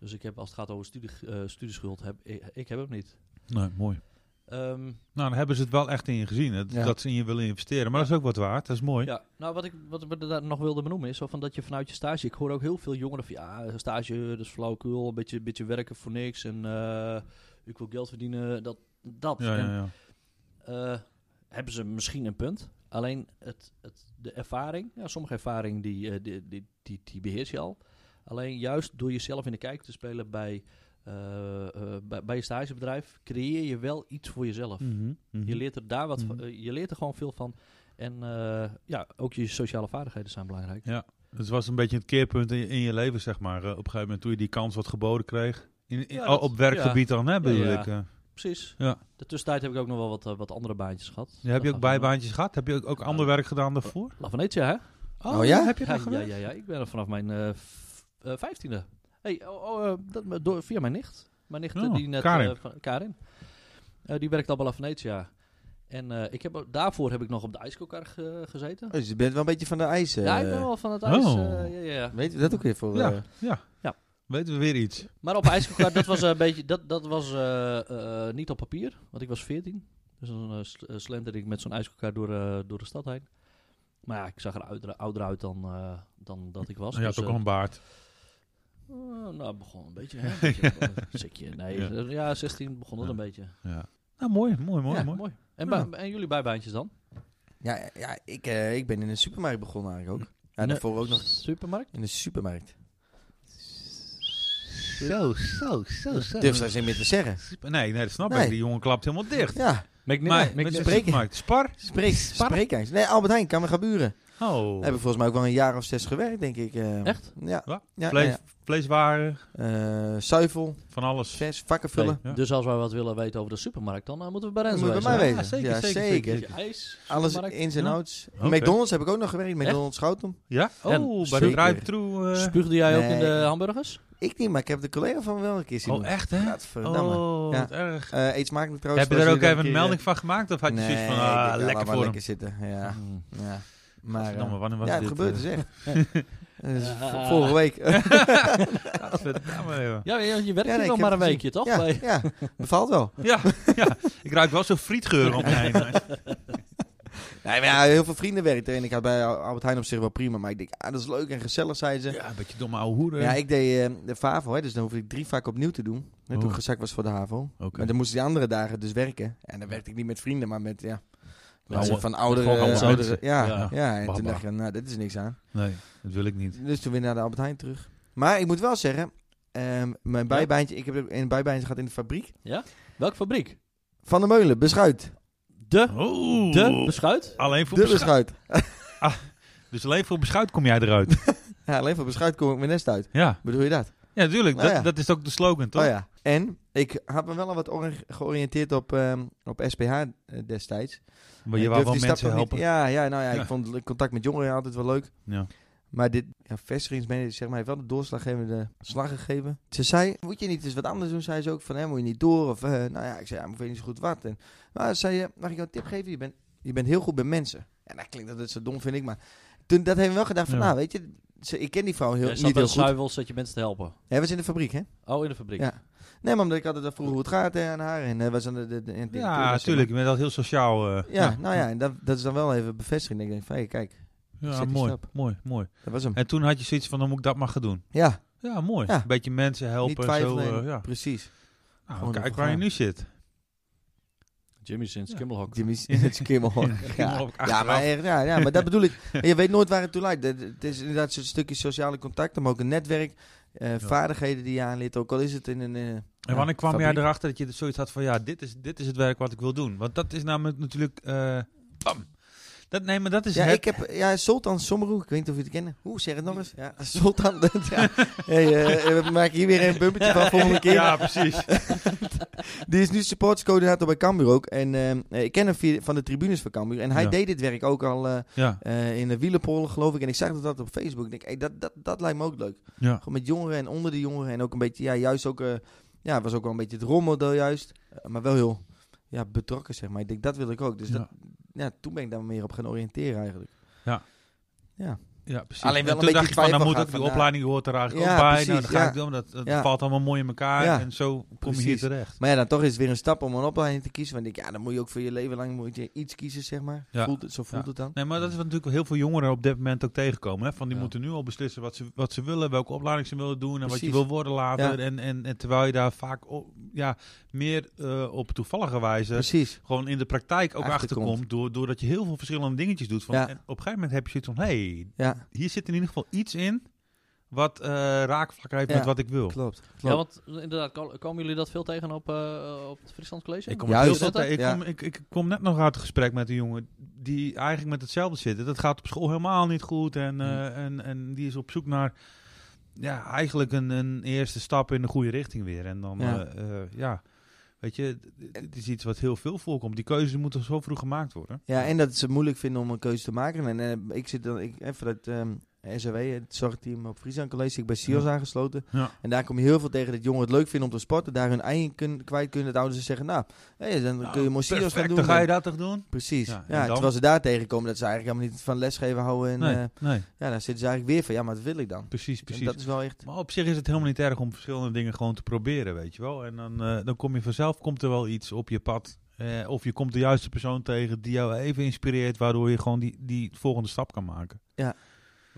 [SPEAKER 3] Dus ik heb, als het gaat over studie, eh, studieschuld, heb, ik, ik heb hem niet.
[SPEAKER 2] Nee, mooi.
[SPEAKER 3] Ehm,
[SPEAKER 2] Nou, dan hebben ze het wel echt in je gezien. hè,
[SPEAKER 1] Ja.
[SPEAKER 2] Dat ze in je willen investeren. Maar dat is ook wat waard. Dat is mooi.
[SPEAKER 3] Ja, nou wat ik, wat ik daar nog wilde benoemen is zo van dat je vanuit je stage... Ik hoor ook heel veel jongeren van ja, stage dat is flauwekul, een beetje, beetje werken voor niks en eh, ik wil geld verdienen, dat. dat.
[SPEAKER 2] Ja,
[SPEAKER 3] En,
[SPEAKER 2] ja, ja.
[SPEAKER 3] eh, hebben ze misschien een punt, alleen het, het, de ervaring, ja, sommige ervaring die, eh, die, die, die, die beheers je al. Alleen juist door jezelf in de kijker te spelen bij, eh, eh, bij, bij je stagebedrijf, creëer je wel iets voor jezelf.
[SPEAKER 2] Mhm, mhm.
[SPEAKER 3] Je leert er daar wat van,
[SPEAKER 2] Mhm.
[SPEAKER 3] eh, je leert er gewoon veel van. En eh, ja, ook je sociale vaardigheden zijn belangrijk.
[SPEAKER 2] Het was een beetje het keerpunt in, in je leven, zeg maar. eh, op een gegeven moment toen je die kans wat geboden kreeg. In, in-
[SPEAKER 3] Ja, dat-
[SPEAKER 2] op werkgebied dan, hè, bedoel
[SPEAKER 3] ja.
[SPEAKER 2] ik. eh.
[SPEAKER 3] Precies.
[SPEAKER 2] Ja.
[SPEAKER 3] De tussentijd heb ik ook nog wel wat, eh, wat andere baantjes gehad.
[SPEAKER 2] Ja, heb je
[SPEAKER 3] Dat
[SPEAKER 2] ook
[SPEAKER 3] gaf me-
[SPEAKER 2] bijbaantjes gehad? Heb je ook, ook ander werk gedaan daarvoor?
[SPEAKER 3] La Venetia, hè?
[SPEAKER 1] Oh, ja?
[SPEAKER 2] Heb je
[SPEAKER 3] Ja,
[SPEAKER 2] dat
[SPEAKER 3] ja,
[SPEAKER 2] gedaan?
[SPEAKER 3] ja, ja. Ik ben er vanaf mijn eh, v- eh, vijftiende. hey, oh, oh, eh, dat, me- door, via mijn nicht. Mijn nicht eh,
[SPEAKER 2] Oh,
[SPEAKER 3] die net...
[SPEAKER 2] Karin.
[SPEAKER 3] eh, van- Karin. Eh, die werkt al bij La Venetia. En eh, ik heb, ook- daarvoor heb ik nog op de ijskokar ge- gezeten.
[SPEAKER 1] Dus je bent wel een beetje van de ijs. eh.
[SPEAKER 3] ja, ik ben wel van het ijs.
[SPEAKER 2] oh.
[SPEAKER 3] eh, ja, ja, ja.
[SPEAKER 1] Weet je dat ook weer voor...
[SPEAKER 2] Ja,
[SPEAKER 1] eh,
[SPEAKER 2] ja.
[SPEAKER 3] Ja.
[SPEAKER 2] Weten we weer iets.
[SPEAKER 3] Maar op ijskoekkaart, dat was eh, een beetje, dat, dat was eh, eh, niet op papier, want ik was 14. Dus dan eh, sl- eh, slenderde ik met zo'n ijskoekkaart door, eh, door de stad heen. Maar ja, ik zag er ouder, ouder uit dan, eh, dan dat ik was.
[SPEAKER 2] je had
[SPEAKER 3] Dus,
[SPEAKER 2] ook al een baard.
[SPEAKER 3] eh, eh, nou, het begon een beetje. Hè, een beetje, eh, Sikje, nee. eh,
[SPEAKER 2] Ja.
[SPEAKER 3] Ja. 16 begon het
[SPEAKER 2] Ja.
[SPEAKER 3] een beetje.
[SPEAKER 2] Ja. Nou, mooi, mooi, mooi.
[SPEAKER 1] Ja,
[SPEAKER 2] mooi.
[SPEAKER 3] Mooi. En,
[SPEAKER 2] Ja.
[SPEAKER 3] bij- en jullie bijbaantjes dan?
[SPEAKER 1] Ja, ja ik, eh, ik ben in een supermarkt begonnen eigenlijk ook. Ja,
[SPEAKER 3] Nee.
[SPEAKER 1] daarvoor ook nog
[SPEAKER 3] Supermarkt?
[SPEAKER 1] in een supermarkt.
[SPEAKER 2] Zo, zo, zo, zo.
[SPEAKER 1] Durf daar zin meer te zeggen.
[SPEAKER 2] Nee, nee, dat snap
[SPEAKER 1] Nee.
[SPEAKER 2] ik. Die jongen klapt helemaal dicht.
[SPEAKER 1] Ja,
[SPEAKER 2] Maar met de
[SPEAKER 1] spreken.
[SPEAKER 2] supermarkt. Spar?
[SPEAKER 1] spreek, spreek eens. Nee, Albert Heijn, kan me gaan buren.
[SPEAKER 2] Oh.
[SPEAKER 1] Heb ik volgens mij ook wel een jaar of zes gewerkt, denk ik. eh.
[SPEAKER 3] Echt?
[SPEAKER 1] Ja.
[SPEAKER 2] Wat?
[SPEAKER 1] ja,
[SPEAKER 2] Vlees,
[SPEAKER 1] ja,
[SPEAKER 2] Vleeswaren,
[SPEAKER 1] ja. Eh, zuivel,
[SPEAKER 2] van alles.
[SPEAKER 1] vers, vakken vullen.
[SPEAKER 2] Ja.
[SPEAKER 3] Nee. Dus als wij wat willen weten over de supermarkt, dan eh, moeten we bij
[SPEAKER 1] Dan
[SPEAKER 3] Renzo
[SPEAKER 1] moet je bij mij
[SPEAKER 3] wezen.
[SPEAKER 1] weten.
[SPEAKER 2] zeker,
[SPEAKER 1] Ja,
[SPEAKER 2] zeker,
[SPEAKER 1] zeker.
[SPEAKER 2] zeker.
[SPEAKER 3] Je ijs.
[SPEAKER 1] Alles
[SPEAKER 3] supermarkt.
[SPEAKER 1] ins en
[SPEAKER 2] Ja.
[SPEAKER 1] outs.
[SPEAKER 2] Oké.
[SPEAKER 1] McDonald's heb ik ook nog gewerkt. McDonald's Schouten.
[SPEAKER 2] Ja?
[SPEAKER 3] En
[SPEAKER 2] Oh, bij
[SPEAKER 1] zeker.
[SPEAKER 2] de drive-thru. eh.
[SPEAKER 3] Spuugde jij ook in
[SPEAKER 1] Nee.
[SPEAKER 3] de hamburgers?
[SPEAKER 1] Ik niet, maar ik heb de collega van wel een keer zien.
[SPEAKER 2] Oh, echt hè?
[SPEAKER 1] Gadverdamme.
[SPEAKER 2] Oh,
[SPEAKER 1] nou, Ja.
[SPEAKER 2] wat erg.
[SPEAKER 1] Eh, eet smakelijk trouwens.
[SPEAKER 2] Heb je daar
[SPEAKER 1] zoals
[SPEAKER 2] ook
[SPEAKER 1] dat
[SPEAKER 2] even een
[SPEAKER 1] keer, eh,
[SPEAKER 2] melding van gemaakt? Of had je
[SPEAKER 1] nee,
[SPEAKER 2] zoiets van,
[SPEAKER 1] ik denk,
[SPEAKER 2] ah,
[SPEAKER 1] laat
[SPEAKER 2] lekker
[SPEAKER 1] maar
[SPEAKER 2] voor hem?
[SPEAKER 1] lekker zitten. Ja,
[SPEAKER 3] Mm.
[SPEAKER 1] ja. Maar, eh,
[SPEAKER 2] Gadverdamme, wanneer was
[SPEAKER 1] ja, het
[SPEAKER 2] dit?
[SPEAKER 1] gebeurt
[SPEAKER 2] eh?
[SPEAKER 1] dus echt. Dat is
[SPEAKER 3] Ja.
[SPEAKER 1] v- Vorige week. Ja,
[SPEAKER 2] Gadverdamme, joh.
[SPEAKER 3] Ja, je, je
[SPEAKER 1] nee,
[SPEAKER 3] werkt hier
[SPEAKER 1] ik heb
[SPEAKER 3] nog maar een
[SPEAKER 1] het gezien.
[SPEAKER 3] weekje, toch?
[SPEAKER 1] Ja,
[SPEAKER 3] Bij-
[SPEAKER 1] ja, bevalt wel.
[SPEAKER 2] Ja, ja, ik ruik wel zo'n frietgeur om me heen.
[SPEAKER 1] Nee, maar ja, heel veel vrienden werkten en ik had bij Albert Heijn op zich wel prima. Maar ik denk, ah, dat is leuk en gezellig, zei ze.
[SPEAKER 2] Ja, een beetje domme ouwe hoeren.
[SPEAKER 1] Ja, ik deed eh, de FAVO, hè, dus dan hoefde ik drie vakken opnieuw te doen. Hè, Toen
[SPEAKER 2] Oh.
[SPEAKER 1] ik gezakt was voor de HAVO.
[SPEAKER 2] Oké.
[SPEAKER 1] Maar dan moest ik die andere dagen dus werken. En dan werkte ik niet met vrienden, maar met, ja...
[SPEAKER 2] Oude-
[SPEAKER 1] mensen van oudere,
[SPEAKER 2] gewoon oude
[SPEAKER 1] eh, oudere
[SPEAKER 2] mensen.
[SPEAKER 1] ja,
[SPEAKER 2] Ja.
[SPEAKER 1] ja, en
[SPEAKER 2] Baba.
[SPEAKER 1] toen dacht ik, nou, dit is niks aan.
[SPEAKER 2] Nee, dat wil ik niet.
[SPEAKER 1] Dus toen weer naar de Albert Heijn terug. Maar ik moet wel zeggen, ehm, mijn bijbaantje, ik heb een bijbaantje gehad in de fabriek.
[SPEAKER 3] Welke fabriek?
[SPEAKER 1] Van de Meulen, beschuit.
[SPEAKER 3] De,
[SPEAKER 2] Oh,
[SPEAKER 3] de beschuit?
[SPEAKER 2] alleen voor
[SPEAKER 1] De
[SPEAKER 2] beschuit.
[SPEAKER 1] beschuit.
[SPEAKER 2] Dus alleen voor beschuit kom jij eruit.
[SPEAKER 1] Ja, alleen voor beschuit kom ik mijn nest uit.
[SPEAKER 2] ja.
[SPEAKER 1] Bedoel je dat?
[SPEAKER 2] ja, natuurlijk.
[SPEAKER 1] Nou
[SPEAKER 2] dat,
[SPEAKER 1] ja.
[SPEAKER 2] dat is ook de slogan, toch?
[SPEAKER 1] Oh ja. En ik had me wel al wat orig- georiënteerd op, ehm, op SPH eh, destijds.
[SPEAKER 2] Maar je
[SPEAKER 1] Ik
[SPEAKER 2] wou wel
[SPEAKER 1] durfde die
[SPEAKER 2] mensen
[SPEAKER 1] stap nog niet-
[SPEAKER 2] helpen.
[SPEAKER 1] Ja, ja, nou ja,
[SPEAKER 2] Ja.
[SPEAKER 1] ik vond contact met jongeren altijd wel leuk.
[SPEAKER 2] Ja.
[SPEAKER 1] Maar dit ja, vestigingsmanager zeg maar, heeft wel de doorslaggevende slag gegeven. Ze zei, moet je niet eens wat anders doen? Zei ze ook van, hè, moet je niet door? Of, eh, nou ja, ik zei, ja, maar ik weet niet zo goed wat. En, nou, ze zei, eh, mag ik jou een tip geven? Je bent, je bent heel goed bij mensen. En dat klinkt altijd zo dom, vind ik. Maar toen, dat heeft me wel gedacht van,
[SPEAKER 2] Ja.
[SPEAKER 1] nou, weet je, ze, ik ken die vrouw heel,
[SPEAKER 3] Er
[SPEAKER 1] niet
[SPEAKER 3] zat
[SPEAKER 1] heel
[SPEAKER 3] een
[SPEAKER 1] goed.
[SPEAKER 3] sluiwels dat je mensen te helpen.
[SPEAKER 1] Hij was in de fabriek, hè?
[SPEAKER 3] Oh, in de fabriek.
[SPEAKER 1] Ja. Nee, maar omdat ik altijd vroeg hoe het gaat hè, aan haar. En eh, was aan de, de, de- de- de-
[SPEAKER 2] Ja,
[SPEAKER 1] de-
[SPEAKER 2] natuurlijk. Je bent al heel sociaal. eh.
[SPEAKER 1] Ja, nou ja, en dat, dat is dan wel even bevestiging. Ik denk van, hey, kijk,
[SPEAKER 2] Ja,
[SPEAKER 1] zet die
[SPEAKER 2] mooi,
[SPEAKER 1] stap.
[SPEAKER 2] mooi, mooi.
[SPEAKER 1] dat was hem.
[SPEAKER 2] En toen had je zoiets van, dan moet ik dat maar gaan doen.
[SPEAKER 1] Ja,
[SPEAKER 2] Ja, mooi.
[SPEAKER 1] Ja.
[SPEAKER 2] Een beetje mensen helpen.
[SPEAKER 1] niet twijfelen.
[SPEAKER 2] zo,
[SPEAKER 1] en-
[SPEAKER 2] eh, ja.
[SPEAKER 1] Precies.
[SPEAKER 2] Nou,
[SPEAKER 1] Gewoon
[SPEAKER 2] kijk
[SPEAKER 1] ervoor
[SPEAKER 2] waar je
[SPEAKER 1] gaan.
[SPEAKER 2] nu zit.
[SPEAKER 3] Jimmy sinds
[SPEAKER 2] Ja.
[SPEAKER 3] Kimmelhok.
[SPEAKER 1] Jimmy's het skimmel.
[SPEAKER 2] Skimmel
[SPEAKER 1] Ja,
[SPEAKER 2] ook
[SPEAKER 1] ja,
[SPEAKER 2] achteraf.
[SPEAKER 1] maar, echt, ja, ja, maar dat bedoel ik. En Je weet nooit waar het toe leidt. Dat- Het is inderdaad zo'n stukje sociale contacten, maar ook een netwerk. eh, Vaardigheden die je aanleert, ook al is het in een... eh,
[SPEAKER 2] En
[SPEAKER 1] ja,
[SPEAKER 2] wanneer kwam
[SPEAKER 1] fabriek.
[SPEAKER 2] jij erachter dat je dus zoiets had van, ja, dit is, dit is het werk wat ik wil doen? Want dat is namelijk natuurlijk, eh, bam. Dat, nee, maar dat is
[SPEAKER 1] Ja,
[SPEAKER 2] het.
[SPEAKER 1] ik heb ja, Sultan Sommerhoek, ik weet niet of je het kent. Hoe, zeg het nog eens. Ja, Sultan. dat- ja. Hey, eh, we maken hier weer een bumpertje van volgende keer.
[SPEAKER 2] Ja, precies.
[SPEAKER 1] Die is nu supportscoördinator bij Cambuur ook. En eh, ik ken hem via, van de tribunes van Cambuur. En hij
[SPEAKER 2] Ja.
[SPEAKER 1] deed dit werk ook al eh,
[SPEAKER 2] ja,
[SPEAKER 1] eh, in de wielenpolen, geloof ik. En ik zag dat, dat op Facebook. Ik denk, hey, dat, dat, dat lijkt me ook leuk.
[SPEAKER 2] ja.
[SPEAKER 1] Gewoon met jongeren en onder de jongeren. En ook een beetje, ja, juist ook... eh, ja, het was ook wel een beetje het rolmodel juist. Eh, maar wel heel ja, betrokken, zeg maar. Ik denk, dat wil ik ook. Dus
[SPEAKER 2] Ja.
[SPEAKER 1] Dat, ja, toen ben ik daar meer op gaan oriënteren eigenlijk.
[SPEAKER 2] Ja, precies.
[SPEAKER 1] Alleen wel
[SPEAKER 2] En
[SPEAKER 1] een beetje
[SPEAKER 2] toen dacht ik van,
[SPEAKER 1] twijfel
[SPEAKER 2] dan moet
[SPEAKER 1] gehad
[SPEAKER 2] ook die
[SPEAKER 1] van,
[SPEAKER 2] opleiding hoort er eigenlijk
[SPEAKER 1] Ja,
[SPEAKER 2] ook bij. nou,
[SPEAKER 1] precies,
[SPEAKER 2] dan ga
[SPEAKER 1] ja.
[SPEAKER 2] ik doen, dat, dat
[SPEAKER 1] Ja.
[SPEAKER 2] valt allemaal mooi in elkaar.
[SPEAKER 1] Ja.
[SPEAKER 2] En zo kom je hier
[SPEAKER 1] Precies.
[SPEAKER 2] terecht.
[SPEAKER 1] Maar ja, dan toch is het weer een stap om een opleiding te kiezen. Want ik denk, ja, dan moet je ook voor je leven lang moet je iets kiezen, zeg maar.
[SPEAKER 2] Ja.
[SPEAKER 1] Voelt het, zo voelt
[SPEAKER 2] Ja.
[SPEAKER 1] het dan.
[SPEAKER 2] Nee, maar dat is wat natuurlijk heel veel jongeren op dit moment ook tegenkomen. Hè? Van die
[SPEAKER 3] Ja.
[SPEAKER 2] moeten nu al beslissen wat ze, wat ze willen, welke opleiding ze willen doen en wat je
[SPEAKER 1] Precies.
[SPEAKER 2] wil worden later.
[SPEAKER 1] Ja.
[SPEAKER 2] En, en, en terwijl je daar vaak op, ja, meer eh, op toevallige wijze
[SPEAKER 1] Precies.
[SPEAKER 2] gewoon in de praktijk ook
[SPEAKER 1] Achterkomt.
[SPEAKER 2] achterkomt. Door, doordat je heel veel verschillende dingetjes doet. Van,
[SPEAKER 1] Ja.
[SPEAKER 2] en op een gegeven moment heb je zoiets van, hey,
[SPEAKER 1] Ja,
[SPEAKER 2] hier zit in ieder geval iets in wat eh, raakvlak heeft
[SPEAKER 1] Ja.
[SPEAKER 2] met wat ik wil.
[SPEAKER 1] klopt. klopt.
[SPEAKER 3] Ja, want eh, inderdaad, ko- komen jullie dat veel tegen op, eh, op het Friesland College?
[SPEAKER 2] Ik kom,
[SPEAKER 1] Juist.
[SPEAKER 2] heel veel te- ik,
[SPEAKER 1] Ja.
[SPEAKER 2] kom, ik, ik kom net nog uit een gesprek met een jongen die eigenlijk met hetzelfde zit. Dat gaat op school helemaal niet goed
[SPEAKER 1] Mm.
[SPEAKER 2] en, eh, en, en die is op zoek naar ja, eigenlijk een, een eerste stap in de goede richting weer. En dan, ja,
[SPEAKER 1] Ja.
[SPEAKER 2] ja weet je, d- d- het is iets wat heel veel voorkomt. Die keuzes moeten zo vroeg gemaakt worden.
[SPEAKER 1] Ja, en dat ze het moeilijk vinden om een keuze te maken. En eh, ik zit dan, ik, eh, vanuit ehm SAW, het zorgteam op Friesland College, ik ben SIOS
[SPEAKER 2] Ja.
[SPEAKER 1] aangesloten.
[SPEAKER 2] Ja.
[SPEAKER 1] En daar kom je heel veel tegen dat jongeren het leuk vinden om te sporten, daar hun eigen kun- kwijt kunnen. Dat ouders zeggen, nou, hé, dan kun je mooi SIOS gaan
[SPEAKER 2] Perfect,
[SPEAKER 1] doen.
[SPEAKER 2] dan ga je dat toch doen?
[SPEAKER 1] Precies.
[SPEAKER 2] Ja,
[SPEAKER 1] Ja,
[SPEAKER 2] en dan?
[SPEAKER 1] terwijl ze daar tegenkomen dat ze eigenlijk helemaal niet van lesgeven houden. En
[SPEAKER 2] Nee,
[SPEAKER 1] eh,
[SPEAKER 2] nee,
[SPEAKER 1] ja, daar zitten ze eigenlijk weer van, ja, maar dat wil ik dan.
[SPEAKER 2] precies,
[SPEAKER 1] En
[SPEAKER 2] precies.
[SPEAKER 1] dat is wel echt...
[SPEAKER 2] Maar op zich is het helemaal niet erg om verschillende dingen gewoon te proberen, weet je wel. En dan, eh, dan kom je vanzelf, komt er wel iets op je pad. Eh, of je komt de juiste persoon tegen die jou even inspireert, waardoor je gewoon die, die volgende stap kan maken.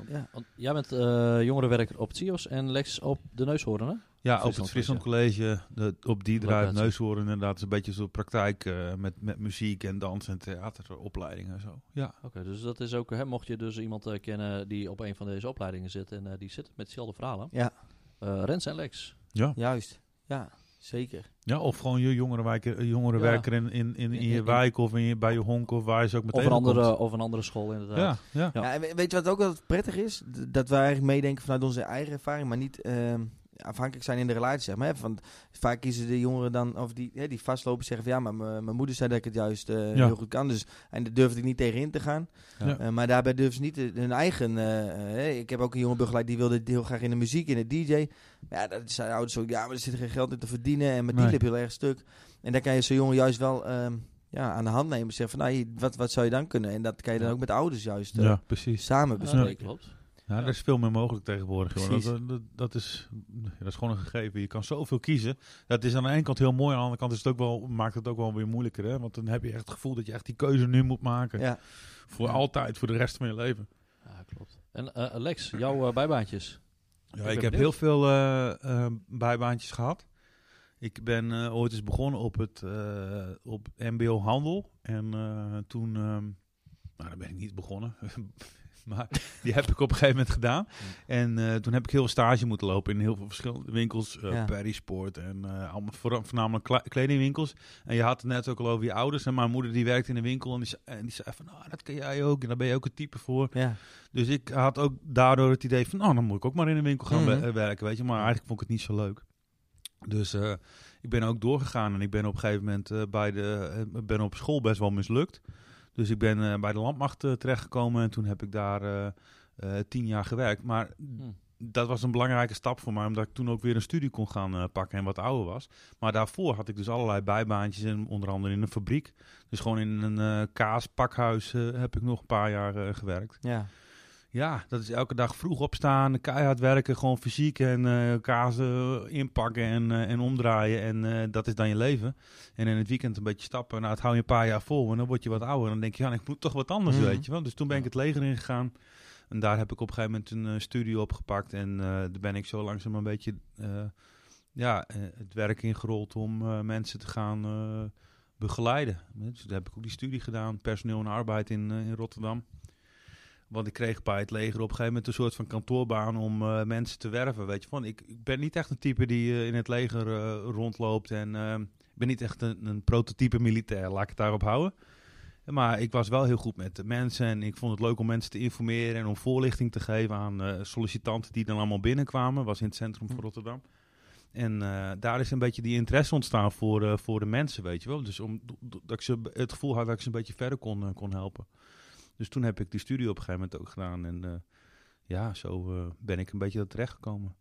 [SPEAKER 1] Ja.
[SPEAKER 3] Want jij bent eh, jongerenwerker op het CIOS en Lex op de neushoorn, hè?
[SPEAKER 2] Ja, op het
[SPEAKER 3] Friesland
[SPEAKER 2] Friesland College, de, op die draait
[SPEAKER 3] Locatie.
[SPEAKER 2] neushoorn inderdaad. is een beetje zo'n praktijk eh, met, met muziek en dans en theateropleidingen en zo. Ja,
[SPEAKER 3] Oké, dus dat is ook, hè, mocht je dus iemand eh, kennen die op een van deze opleidingen zit en eh, die zit met hetzelfde verhalen.
[SPEAKER 1] Ja.
[SPEAKER 3] Eh, Rens en Lex.
[SPEAKER 1] Juist. Ja, zeker.
[SPEAKER 2] ja of gewoon je jongerenwerker, jongerenwerker in, in, in, in
[SPEAKER 3] In-
[SPEAKER 2] je
[SPEAKER 3] in-
[SPEAKER 2] wijk of in je, bij je honk of waar je ze ook meteen
[SPEAKER 3] Of een, andere, of een andere school, inderdaad.
[SPEAKER 2] Ja, ja.
[SPEAKER 3] Ja.
[SPEAKER 1] Ja. en we- weet je wat ook wel prettig is? D- Dat wij eigenlijk meedenken vanuit onze eigen ervaring, maar niet ehm, afhankelijk zijn in de relatie, zeg maar. Hè? Want vaak kiezen de jongeren dan, of die, hè, die vastlopen, zeggen van ja, maar mijn mijn moeder zei dat ik het juist eh,
[SPEAKER 2] Ja.
[SPEAKER 1] heel goed kan. Dus, en daar durfde ik niet tegen in te gaan.
[SPEAKER 2] Ja.
[SPEAKER 1] Eh, maar daarbij durven ze niet eh, hun eigen... eh, eh, hè, ik heb ook een jongen begeleid, die wilde heel graag in de muziek, in de DJ. Maar ja, dat zijn ouders ook, ja, maar er zit geen geld in te verdienen en mijn
[SPEAKER 2] Nee.
[SPEAKER 1] deal heb je heel erg stuk. En daar kan je zo'n jongen juist wel... ehm, ja, aan de hand nemen. Zeggen van, nou, hier, wat, wat zou je dan kunnen? En dat kan je dan
[SPEAKER 3] Ja.
[SPEAKER 1] ook met ouders juist eh,
[SPEAKER 2] ja, precies.
[SPEAKER 1] samen
[SPEAKER 3] Ah, nee,
[SPEAKER 1] bespreken.
[SPEAKER 3] klopt.
[SPEAKER 2] Ja, er is veel meer mogelijk tegenwoordig. joh.
[SPEAKER 1] Precies.
[SPEAKER 2] Dat, dat, dat is, dat is gewoon een gegeven. Je kan zoveel kiezen. Dat is aan de ene kant heel mooi. Aan de andere kant is het ook wel, maakt het ook wel weer moeilijker. Hè? Want dan heb je echt het gevoel dat je echt die keuze nu moet maken.
[SPEAKER 1] Ja.
[SPEAKER 2] Voor
[SPEAKER 1] Ja.
[SPEAKER 2] altijd, voor de rest van je leven.
[SPEAKER 3] Ja, klopt. En eh, Lex, jouw eh, bijbaantjes.
[SPEAKER 2] Ja,
[SPEAKER 3] ben
[SPEAKER 2] ik heb
[SPEAKER 3] benieuwd.
[SPEAKER 2] heel veel eh, eh, bijbaantjes gehad. Ik ben eh, ooit eens begonnen op het eh, op MBO Handel. En eh, toen, ehm nou, daar ben ik niet begonnen. maar die heb ik op een gegeven moment gedaan. En eh, toen heb ik heel veel stage moeten lopen in heel veel verschillende winkels. eh
[SPEAKER 1] Ja.
[SPEAKER 2] Perry Sport en eh, allemaal, vooral- voornamelijk kla- kledingwinkels. En je had het net ook al over je ouders. En mijn moeder die werkte in een winkel en die, ze- en die zei van, nou dat kan jij ook. En daar ben je ook een type voor.
[SPEAKER 1] Ja.
[SPEAKER 2] Dus ik had ook daardoor het idee van, nou, dan moet ik ook maar in een winkel gaan
[SPEAKER 1] Mhm.
[SPEAKER 2] we- eh, werken, weet je. Maar eigenlijk vond ik het niet zo leuk. Dus eh, ik ben ook doorgegaan en ik ben op een gegeven moment eh, bij de, eh, ben op school best wel mislukt. Dus ik ben eh, bij de landmacht eh, terechtgekomen en toen heb ik daar eh, eh, tien jaar gewerkt. Maar
[SPEAKER 3] Hm.
[SPEAKER 2] dat was een belangrijke stap voor mij, omdat ik toen ook weer een studie kon gaan eh, pakken en wat ouder was. Maar daarvoor had ik dus allerlei bijbaantjes, en onder andere in een fabriek. Dus gewoon in een eh, kaaspakhuis eh, heb ik nog een paar jaar eh, gewerkt.
[SPEAKER 1] Ja.
[SPEAKER 2] Ja, dat is elke dag vroeg opstaan, keihard werken, gewoon fysiek en eh kazen inpakken en, eh, en omdraaien. En eh, dat is dan je leven. En in het weekend een beetje stappen. Nou, het hou je een paar jaar vol en dan word je wat ouder. En dan denk je, ja, ik moet toch wat anders,
[SPEAKER 1] Mhm.
[SPEAKER 2] weet je wel. Dus toen ben ik het leger ingegaan. En daar heb ik op een gegeven moment een eh, studie opgepakt. En eh, daar ben ik zo langzaam een beetje eh, ja, eh, het werk ingerold om eh, mensen te gaan eh, begeleiden. Dus daar heb ik ook die studie gedaan, personeel en arbeid in, eh, in Rotterdam. Want ik kreeg bij het leger op een gegeven moment een soort van kantoorbaan om eh, mensen te werven. Weet je, van ik, ik ben niet echt een type die eh, in het leger eh, rondloopt en eh, ik ben niet echt een, een prototype militair, laat ik het daarop houden. Maar ik was wel heel goed met de mensen en ik vond het leuk om mensen te informeren en om voorlichting te geven aan eh, sollicitanten die dan allemaal binnenkwamen. Was in het centrum van Rotterdam. En eh, daar is een beetje die interesse ontstaan voor, eh, voor de mensen, weet je wel. Dus om, dat ik ze het gevoel had dat ik ze een beetje verder kon, eh, kon helpen. Dus toen heb ik die studie op een gegeven moment ook gedaan. En eh, ja, zo eh, ben ik een beetje terechtgekomen.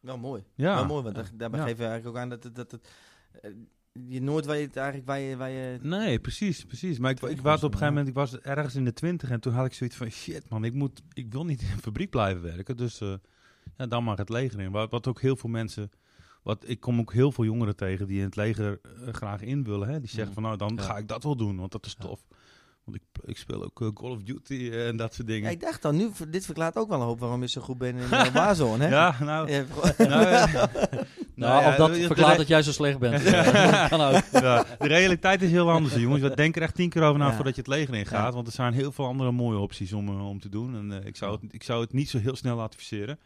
[SPEAKER 1] Nou, mooi.
[SPEAKER 2] Ja.
[SPEAKER 1] Wel mooi, want daar- daarbij
[SPEAKER 2] Ja.
[SPEAKER 1] geven we eigenlijk ook aan dat het... Dat, het eh, je nooit weet eigenlijk waar je... Waar je
[SPEAKER 2] Nee, precies, precies. Maar ik, ik
[SPEAKER 1] Terecht
[SPEAKER 2] was op een
[SPEAKER 1] was,
[SPEAKER 2] gegeven moment, ik was ergens in de twintig en toen had ik zoiets van, shit man, ik, moet, ik wil niet in een fabriek blijven werken. Dus eh, ja, dan maar het leger in. Wat, wat ook heel veel mensen, wat, ik kom ook heel veel jongeren tegen die in het leger eh, graag in willen. Hè? Die zeggen
[SPEAKER 3] Mm.
[SPEAKER 2] van, nou dan
[SPEAKER 3] Ja.
[SPEAKER 2] ga ik dat wel doen, want dat is
[SPEAKER 3] Ja.
[SPEAKER 2] tof. Want ik, ik speel ook eh, Call of Duty eh, en dat soort
[SPEAKER 1] ja,
[SPEAKER 2] dingen. Ja,
[SPEAKER 1] ik dacht dan, nu, dit verklaart ook wel een hoop waarom je zo goed bent in de waarzone, hè?
[SPEAKER 2] nou...
[SPEAKER 1] Ja, gewoon-
[SPEAKER 2] nou, eh,
[SPEAKER 3] Nou,
[SPEAKER 2] ja,
[SPEAKER 3] of dat
[SPEAKER 2] eh, de-
[SPEAKER 3] verklaart dat jij zo slecht bent. Ja. kan ook.
[SPEAKER 2] Ja, de realiteit is heel anders, jongens. We denken er echt tien keer over na
[SPEAKER 1] Ja.
[SPEAKER 2] voordat je het leger in gaat. Want er zijn heel veel andere mooie opties om, eh, om te doen. En eh, ik, zou het, ik zou het niet zo heel snel adviseren.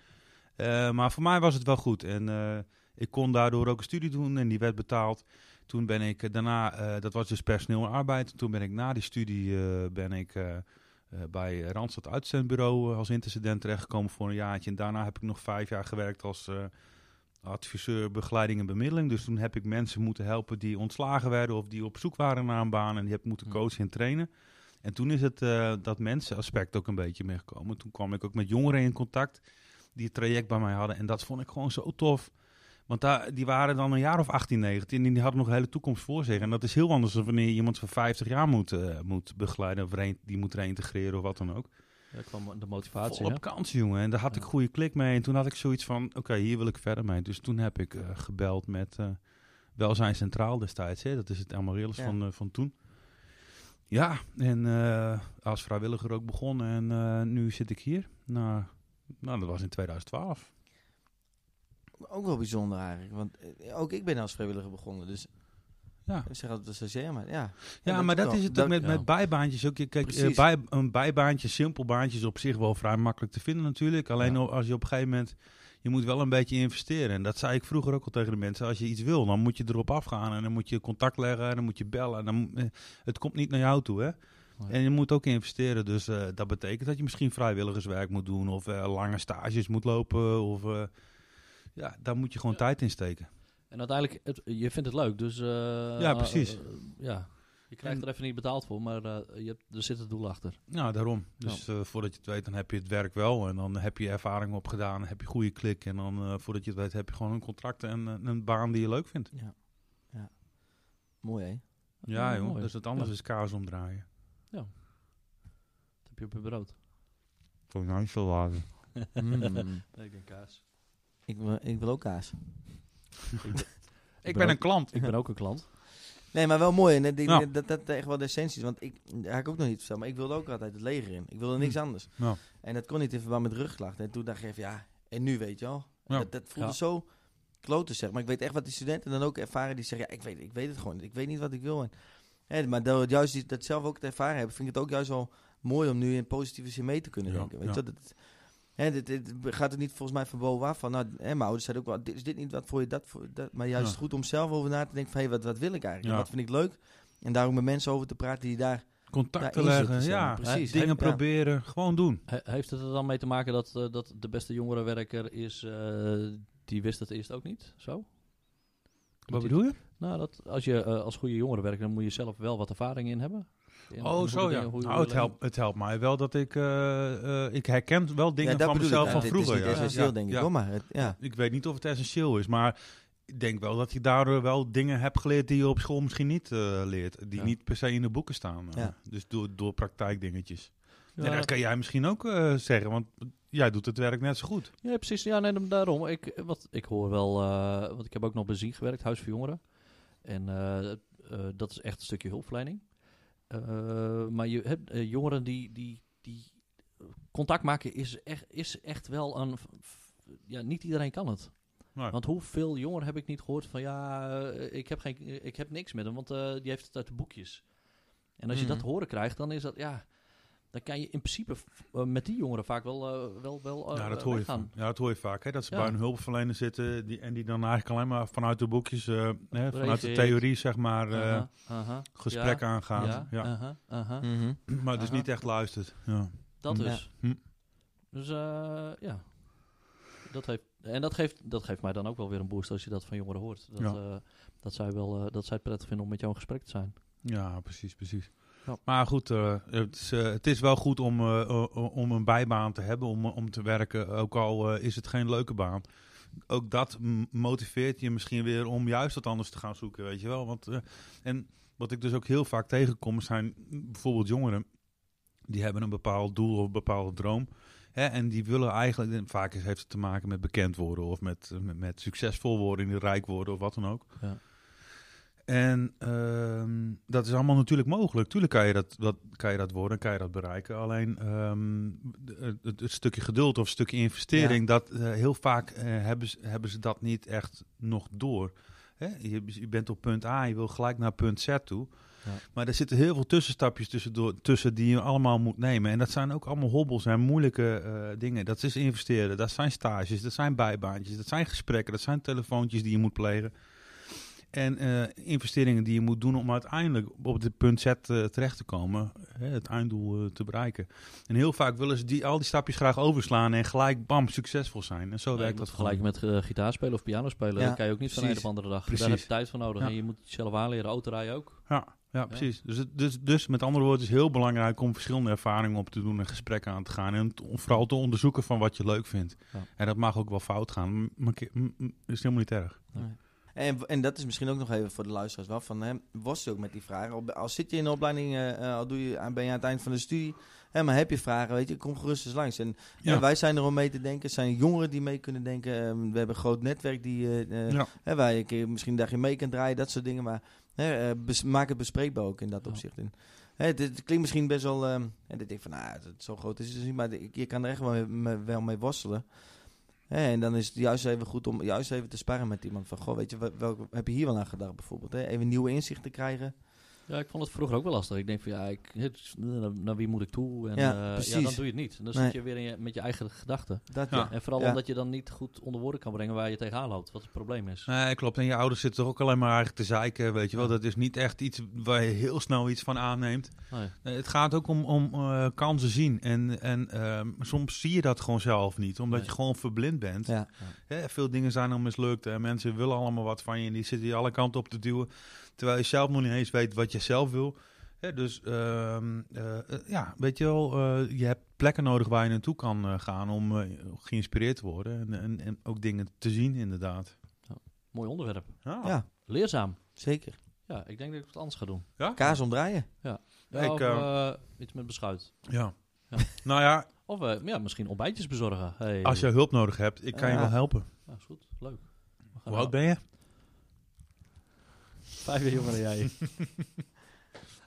[SPEAKER 2] Eh, maar voor mij was het wel goed. En eh, ik kon daardoor ook een studie doen en die werd betaald. Toen ben ik eh, daarna, eh, dat was dus personeel en arbeid. Toen ben ik na die studie eh, ben ik, eh, eh, bij Randstad Uitzendbureau eh, als intercedent terechtgekomen voor een jaartje. En daarna heb ik nog vijf jaar gewerkt als... eh, adviseur begeleiding en bemiddeling. Dus toen heb ik mensen moeten helpen die ontslagen werden of die op zoek waren naar een baan en die heb ik moeten
[SPEAKER 3] Hm.
[SPEAKER 2] coachen en trainen. En toen is het eh, dat mensenaspect ook een beetje meer gekomen. Toen kwam ik ook met jongeren in contact die het traject bij mij hadden en dat vond ik gewoon zo tof. Want daar, die waren dan een jaar of 18, 19 en die hadden nog een hele toekomst voor zich. En dat is heel anders dan wanneer je iemand van 50 jaar moet, eh, moet begeleiden of reïn- die moet reintegreren of wat dan ook.
[SPEAKER 3] Daar kwam de motivatie.
[SPEAKER 2] Vol
[SPEAKER 3] hè?
[SPEAKER 2] op kans, jongen. En daar had ik
[SPEAKER 3] Ja.
[SPEAKER 2] goede klik mee. En toen had ik zoiets van, oké, hier wil ik verder mee. Dus toen heb ik eh, gebeld met eh, Welzijn Centraal destijds. Hè? Dat is het Amaryllis
[SPEAKER 1] Ja.
[SPEAKER 2] van, eh, van toen. Ja, en eh, als vrijwilliger ook begonnen. En eh, nu zit ik hier. Nou, nou, dat was in 2012.
[SPEAKER 1] Ook wel bijzonder eigenlijk, want eh, ook ik ben als vrijwilliger begonnen, dus...
[SPEAKER 2] Ja.
[SPEAKER 1] Ik zeg altijd de stagiair, maar ja.
[SPEAKER 2] Ja, maar dat is het ook met,
[SPEAKER 3] ja.
[SPEAKER 2] met bijbaantjes ook. Je- Kijk, eh,
[SPEAKER 1] Precies.
[SPEAKER 2] bij, een bijbaantje, simpel baantje is op zich wel vrij makkelijk te vinden natuurlijk. Alleen
[SPEAKER 3] Ja.
[SPEAKER 2] al- als je op een gegeven moment, je moet wel een beetje investeren. En dat zei ik vroeger ook al tegen de mensen. Als je iets wil, dan moet je erop afgaan en dan moet je contact leggen en dan moet je bellen. En dan, mo- eh, het komt niet naar jou toe, hè.
[SPEAKER 3] Nee.
[SPEAKER 2] En je moet ook investeren, dus eh, dat betekent dat je misschien vrijwilligerswerk moet doen of eh, lange stages moet lopen. Of, eh, ja, daar moet je gewoon tijd in steken.
[SPEAKER 3] En uiteindelijk, het, je vindt het leuk, dus... eh,
[SPEAKER 2] Ja, precies.
[SPEAKER 3] eh, eh, ja. Je krijgt er even niet betaald voor, maar eh, je hebt, er zit het doel achter.
[SPEAKER 2] Nou, daarom. Dus eh, voordat je het weet, dan heb je het werk wel. En dan heb je ervaring opgedaan, dan heb je goede klik. En dan eh, voordat je het weet, heb je gewoon een contract en eh, een baan die je leuk vindt.
[SPEAKER 1] Mooi, hè?
[SPEAKER 2] Ja,
[SPEAKER 3] Ja,
[SPEAKER 2] joh.
[SPEAKER 3] mooi.
[SPEAKER 2] Dus het anders
[SPEAKER 3] Ja.
[SPEAKER 2] is kaas omdraaien.
[SPEAKER 3] Dat heb je op je brood.
[SPEAKER 2] Financial laden.
[SPEAKER 1] Mm.
[SPEAKER 3] Nee, ik denk kaas.
[SPEAKER 1] ik, wil, ik wil ook kaas.
[SPEAKER 2] Ik ben een klant.
[SPEAKER 3] Ik ben ook een klant.
[SPEAKER 1] Nee, maar wel mooi. En dat,
[SPEAKER 2] Ja.
[SPEAKER 1] dat, dat, dat echt wel de essentie is. Want ik daar heb ik ook nog niet verteld. Maar ik wilde ook altijd het leger in. Ik wilde niks anders.
[SPEAKER 2] Hm. Ja.
[SPEAKER 1] En dat kon niet in verband met rugklachten. En toen dacht ik even, ja, en nu weet je al.
[SPEAKER 2] Ja.
[SPEAKER 1] Dat, dat voelde
[SPEAKER 3] Ja.
[SPEAKER 1] zo klote zeg. Maar ik weet echt wat die studenten dan ook ervaren. Die zeggen, ja, ik weet, ik weet het gewoon. niet. Ik weet niet wat ik wil. En, hè, maar dat, juist die, dat zelf ook te ervaren hebben, vind ik het ook juist wel mooi om nu in positieve zin mee te kunnen
[SPEAKER 2] Ja,
[SPEAKER 1] denken. Weet
[SPEAKER 2] ja.
[SPEAKER 1] je, wel? dat, hè, dit, dit gaat het niet volgens mij verboden waar van. Nou, hè, mijn ouders zeiden ook wel, dit- is dit niet wat voor je dat voor dat? Maar juist
[SPEAKER 2] Ja.
[SPEAKER 1] goed om zelf over na te denken van, hé, wat, wat wil ik eigenlijk?
[SPEAKER 2] Ja.
[SPEAKER 1] Wat vind ik leuk? En daar ook met mensen over te praten die daar...
[SPEAKER 2] Contact te
[SPEAKER 1] Daarin zitten
[SPEAKER 2] leggen,
[SPEAKER 1] ze,
[SPEAKER 2] ja.
[SPEAKER 1] precies.
[SPEAKER 2] Dingen
[SPEAKER 1] Ja.
[SPEAKER 2] proberen, gewoon doen.
[SPEAKER 3] He- heeft het er dan mee te maken dat, eh, dat de beste jongerenwerker is, eh, die wist het eerst ook niet? Zo?
[SPEAKER 2] Wat bedoel je?
[SPEAKER 3] Nou, dat, als je eh, als goede jongerenwerker, dan moet je zelf wel wat ervaring in hebben. In
[SPEAKER 2] Oh,
[SPEAKER 3] hoe
[SPEAKER 2] zo
[SPEAKER 3] dingen-
[SPEAKER 2] ja.
[SPEAKER 3] hoe je
[SPEAKER 2] Nou,
[SPEAKER 3] wil
[SPEAKER 2] het helpt, het helpt mij wel dat ik... eh, eh, ik herken wel dingen
[SPEAKER 1] dat
[SPEAKER 2] van
[SPEAKER 1] bedoel ik,
[SPEAKER 2] mezelf
[SPEAKER 1] eh. ja. Dit
[SPEAKER 2] van vroeger.
[SPEAKER 1] is niet
[SPEAKER 2] ja.
[SPEAKER 1] essentieel,
[SPEAKER 2] Ja,
[SPEAKER 1] denk ik.
[SPEAKER 2] ja.
[SPEAKER 1] hoor, maar het, ja.
[SPEAKER 2] Ik weet niet of het essentieel is, maar ik denk wel dat je daardoor wel dingen hebt geleerd die je op school misschien niet eh, leert. Die
[SPEAKER 3] Ja.
[SPEAKER 2] niet per se in de boeken staan. eh.
[SPEAKER 1] Ja.
[SPEAKER 2] Dus door, door praktijkdingetjes.
[SPEAKER 3] Ja,
[SPEAKER 2] En dat kan jij misschien ook eh, zeggen, want jij doet het werk net zo goed.
[SPEAKER 3] ja, precies. Ja, nee, daarom. Ik, wat, ik hoor wel, eh, want ik heb ook nog bij Zien gewerkt, Huis voor Jongeren. En eh, eh, dat is echt een stukje hulpverlening. Eh, maar je hebt eh, jongeren die, die, die contact maken is echt, is echt wel een... Ja, niet iedereen kan het.
[SPEAKER 2] Maar,
[SPEAKER 3] Want hoeveel jongeren heb ik niet gehoord van ja, eh, ik heb, geen, ik heb niks met hem, want eh, die heeft het uit de boekjes. En als je dat
[SPEAKER 1] Mhm.
[SPEAKER 3] te horen krijgt, dan is dat ja, dan kan je in principe f- eh, met die jongeren vaak wel, eh, wel, wel eh,
[SPEAKER 2] ja, dat
[SPEAKER 3] eh,
[SPEAKER 2] hoor je
[SPEAKER 3] weggaan.
[SPEAKER 2] van- ja, dat hoor je vaak. Hè? Dat ze
[SPEAKER 3] Ja.
[SPEAKER 2] bij een hulpverlener zitten die, en die dan eigenlijk alleen maar vanuit de boekjes, eh, hè, vanuit de
[SPEAKER 3] Reageert.
[SPEAKER 2] theorie, zeg maar, eh,
[SPEAKER 3] Aha, aha,
[SPEAKER 2] gesprek aangaan. Ja.
[SPEAKER 3] ja, aha, aha.
[SPEAKER 1] Mhm.
[SPEAKER 2] Maar dus
[SPEAKER 3] Aha.
[SPEAKER 2] niet echt luistert. Ja.
[SPEAKER 3] Dat
[SPEAKER 1] Ja.
[SPEAKER 3] dus.
[SPEAKER 2] Hm.
[SPEAKER 3] Dus eh, ja. Dat heeft, en dat geeft, dat geeft mij dan ook wel weer een boost als je dat van jongeren hoort. Dat,
[SPEAKER 2] Ja. Oh,
[SPEAKER 3] eh, dat, zij wel, eh, dat zij het prettig vinden om met jou in gesprek te zijn.
[SPEAKER 2] Ja, precies, precies.
[SPEAKER 3] Ja.
[SPEAKER 2] Maar goed, eh, het, is, eh, het is wel goed om, eh, eh, om een bijbaan te hebben, om, om te werken, ook al eh, is het geen leuke baan. Ook dat m- motiveert je misschien weer om juist wat anders te gaan zoeken, weet je wel. Want, eh, en wat ik dus ook heel vaak tegenkom zijn bijvoorbeeld jongeren, die hebben een bepaald doel of een bepaalde droom. Hè, en die willen eigenlijk, en vaak is- heeft het te maken met bekend worden of met, met, met succesvol worden, rijk worden of wat dan ook. En ehm, dat is allemaal natuurlijk mogelijk. Tuurlijk kan je dat, dat, kan je dat worden, kan je dat bereiken. Alleen ehm, de- het, het stukje geduld of stukje investering, dat eh, heel vaak eh, hebben, ze, hebben ze dat niet echt nog door. Hè? Je, je bent op punt A, je wil gelijk naar punt Z toe.
[SPEAKER 3] Ja.
[SPEAKER 2] Maar er zitten heel veel tussenstapjes tussendoor, tussen die je allemaal moet nemen. En dat zijn ook allemaal hobbels en moeilijke eh, dingen. Dat is investeren, dat zijn stages, dat zijn bijbaantjes, dat zijn gesprekken, dat zijn telefoontjes die je moet plegen. En eh, investeringen die je moet doen om uiteindelijk op dit punt Z eh, terecht te komen, hè, het einddoel eh, te bereiken. En heel vaak willen ze die, al die stapjes graag overslaan en gelijk bam succesvol zijn. En zo
[SPEAKER 3] Nee, je
[SPEAKER 2] werkt
[SPEAKER 3] moet
[SPEAKER 2] dat
[SPEAKER 3] vergelijken
[SPEAKER 2] gelijk.
[SPEAKER 3] met eh, gitaar spelen of piano spelen.
[SPEAKER 1] Ja,
[SPEAKER 3] dat kan je ook niet van de een
[SPEAKER 2] precies.
[SPEAKER 3] op de andere dag. Daar
[SPEAKER 2] Precies.
[SPEAKER 3] heb je tijd voor nodig.
[SPEAKER 2] Ja.
[SPEAKER 3] En je moet jezelf aanleren, autorijden ook.
[SPEAKER 2] Ja, ja, precies. Dus, het- dus, dus met andere woorden, het is heel belangrijk om verschillende ervaringen op te doen en gesprekken aan te gaan. En t- om vooral te onderzoeken van wat je leuk vindt.
[SPEAKER 3] Ja.
[SPEAKER 2] En dat mag ook wel fout gaan, m- maar ke- m- m- is helemaal niet erg.
[SPEAKER 1] En, en dat is misschien ook nog even voor de luisteraars wel van, hè, was je ook met die vragen? Al- Al zit je in de opleiding, eh, eh, al doe je, aan- ben je aan het eind van de studie, hè, maar heb je vragen, weet je, kom gerust eens langs. En,
[SPEAKER 2] Ja.
[SPEAKER 1] en wij zijn er om mee te denken, het zijn jongeren die mee kunnen denken. Eh, we hebben een groot netwerk die, eh, eh,
[SPEAKER 2] Ja.
[SPEAKER 1] hè, waar je een keer misschien een dagje mee kan draaien, dat soort dingen. Maar hè, eh, bes- maak het bespreekbaar ook in dat
[SPEAKER 3] Ja.
[SPEAKER 1] opzicht. En, hè, het, het klinkt misschien best wel, ehm, en dat ik denk van, nou, het- het zo groot is het dus niet, maar de- je kan er echt wel mee, wel mee worstelen. Hè, en dan is het juist even goed om juist even te sparren met iemand. Van, goh, weet je, wel- welk, heb je hier wel aan gedacht bijvoorbeeld? Hè? Even nieuwe inzichten krijgen.
[SPEAKER 3] Ja, ik vond het vroeger ook wel lastig. Ik denk van ja, ik, het- eh, naar, naar wie moet ik toe? En,
[SPEAKER 1] Ja,
[SPEAKER 3] eh, ja,
[SPEAKER 1] precies.
[SPEAKER 3] dan doe je het niet. Dan
[SPEAKER 1] Nee.
[SPEAKER 3] zit je weer in je- met je eigen gedachten.
[SPEAKER 1] Dat,
[SPEAKER 2] Ja.
[SPEAKER 1] ja.
[SPEAKER 3] En vooral
[SPEAKER 1] Ja.
[SPEAKER 3] omdat je dan niet goed onder woorden kan brengen waar je tegenaan loopt. Wat het probleem is.
[SPEAKER 2] Nee, klopt. En je ouders zitten toch ook alleen maar eigenlijk te zeiken, weet je wel. Dat is niet echt iets waar je heel snel iets van aanneemt.
[SPEAKER 3] Nee.
[SPEAKER 2] Nee, het gaat ook om, om eh, kansen zien. En, en ehm, soms zie je dat gewoon zelf niet, omdat
[SPEAKER 3] Nee.
[SPEAKER 2] je gewoon verblind bent.
[SPEAKER 1] Ja.
[SPEAKER 2] Hè, veel dingen zijn al mislukt en mensen willen allemaal wat van je en die zitten je alle kanten op te duwen. Terwijl je zelf nog niet eens weet wat je zelf wil. Hè, dus ehm, eh, eh, ja, weet je wel, eh, je hebt plekken nodig waar je naartoe kan eh, gaan om eh, geïnspireerd te worden en, en, en ook dingen te zien inderdaad.
[SPEAKER 3] Mooi onderwerp.
[SPEAKER 2] Ah. Ja.
[SPEAKER 1] Ja.
[SPEAKER 3] Leerzaam.
[SPEAKER 1] zeker.
[SPEAKER 3] Ja, ik denk dat ik wat anders ga doen.
[SPEAKER 1] Kaas omdraaien.
[SPEAKER 3] Ja,
[SPEAKER 2] Ik,
[SPEAKER 3] of,
[SPEAKER 2] eh,
[SPEAKER 3] eh, iets met beschuit.
[SPEAKER 2] Ja.
[SPEAKER 3] Ja.
[SPEAKER 2] nou ja,
[SPEAKER 3] Of eh, ja, misschien ontbijtjes bezorgen. Hey.
[SPEAKER 2] Als je hulp nodig hebt, ik kan je
[SPEAKER 1] Ja.
[SPEAKER 2] wel Eh, helpen.
[SPEAKER 3] Ja, is goed. Leuk. We gaan
[SPEAKER 2] Hoe oud ben je?
[SPEAKER 3] Vijf jaar jonger dan jij.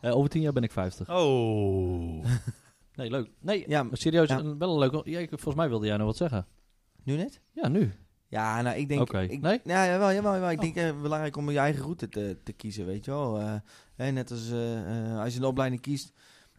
[SPEAKER 3] Eh, over tien jaar ben ik vijftig.
[SPEAKER 2] Oh.
[SPEAKER 3] Nee, leuk. Nee,
[SPEAKER 1] Ja,
[SPEAKER 3] maar serieus,
[SPEAKER 1] ja.
[SPEAKER 3] een- wel een leuk... Ja, ik- volgens mij wilde jij nog wat zeggen.
[SPEAKER 1] Nu net?
[SPEAKER 3] Ja, nu.
[SPEAKER 1] Ja, nou, ik denk...
[SPEAKER 3] Oké.
[SPEAKER 1] Ik,
[SPEAKER 3] Nee?
[SPEAKER 1] Ja, jawel, jawel, jawel. Ik
[SPEAKER 3] Oh.
[SPEAKER 1] denk eh, belangrijk om je eigen route te, te kiezen, weet je wel. Eh, hè, net als eh, eh, als je een opleiding kiest...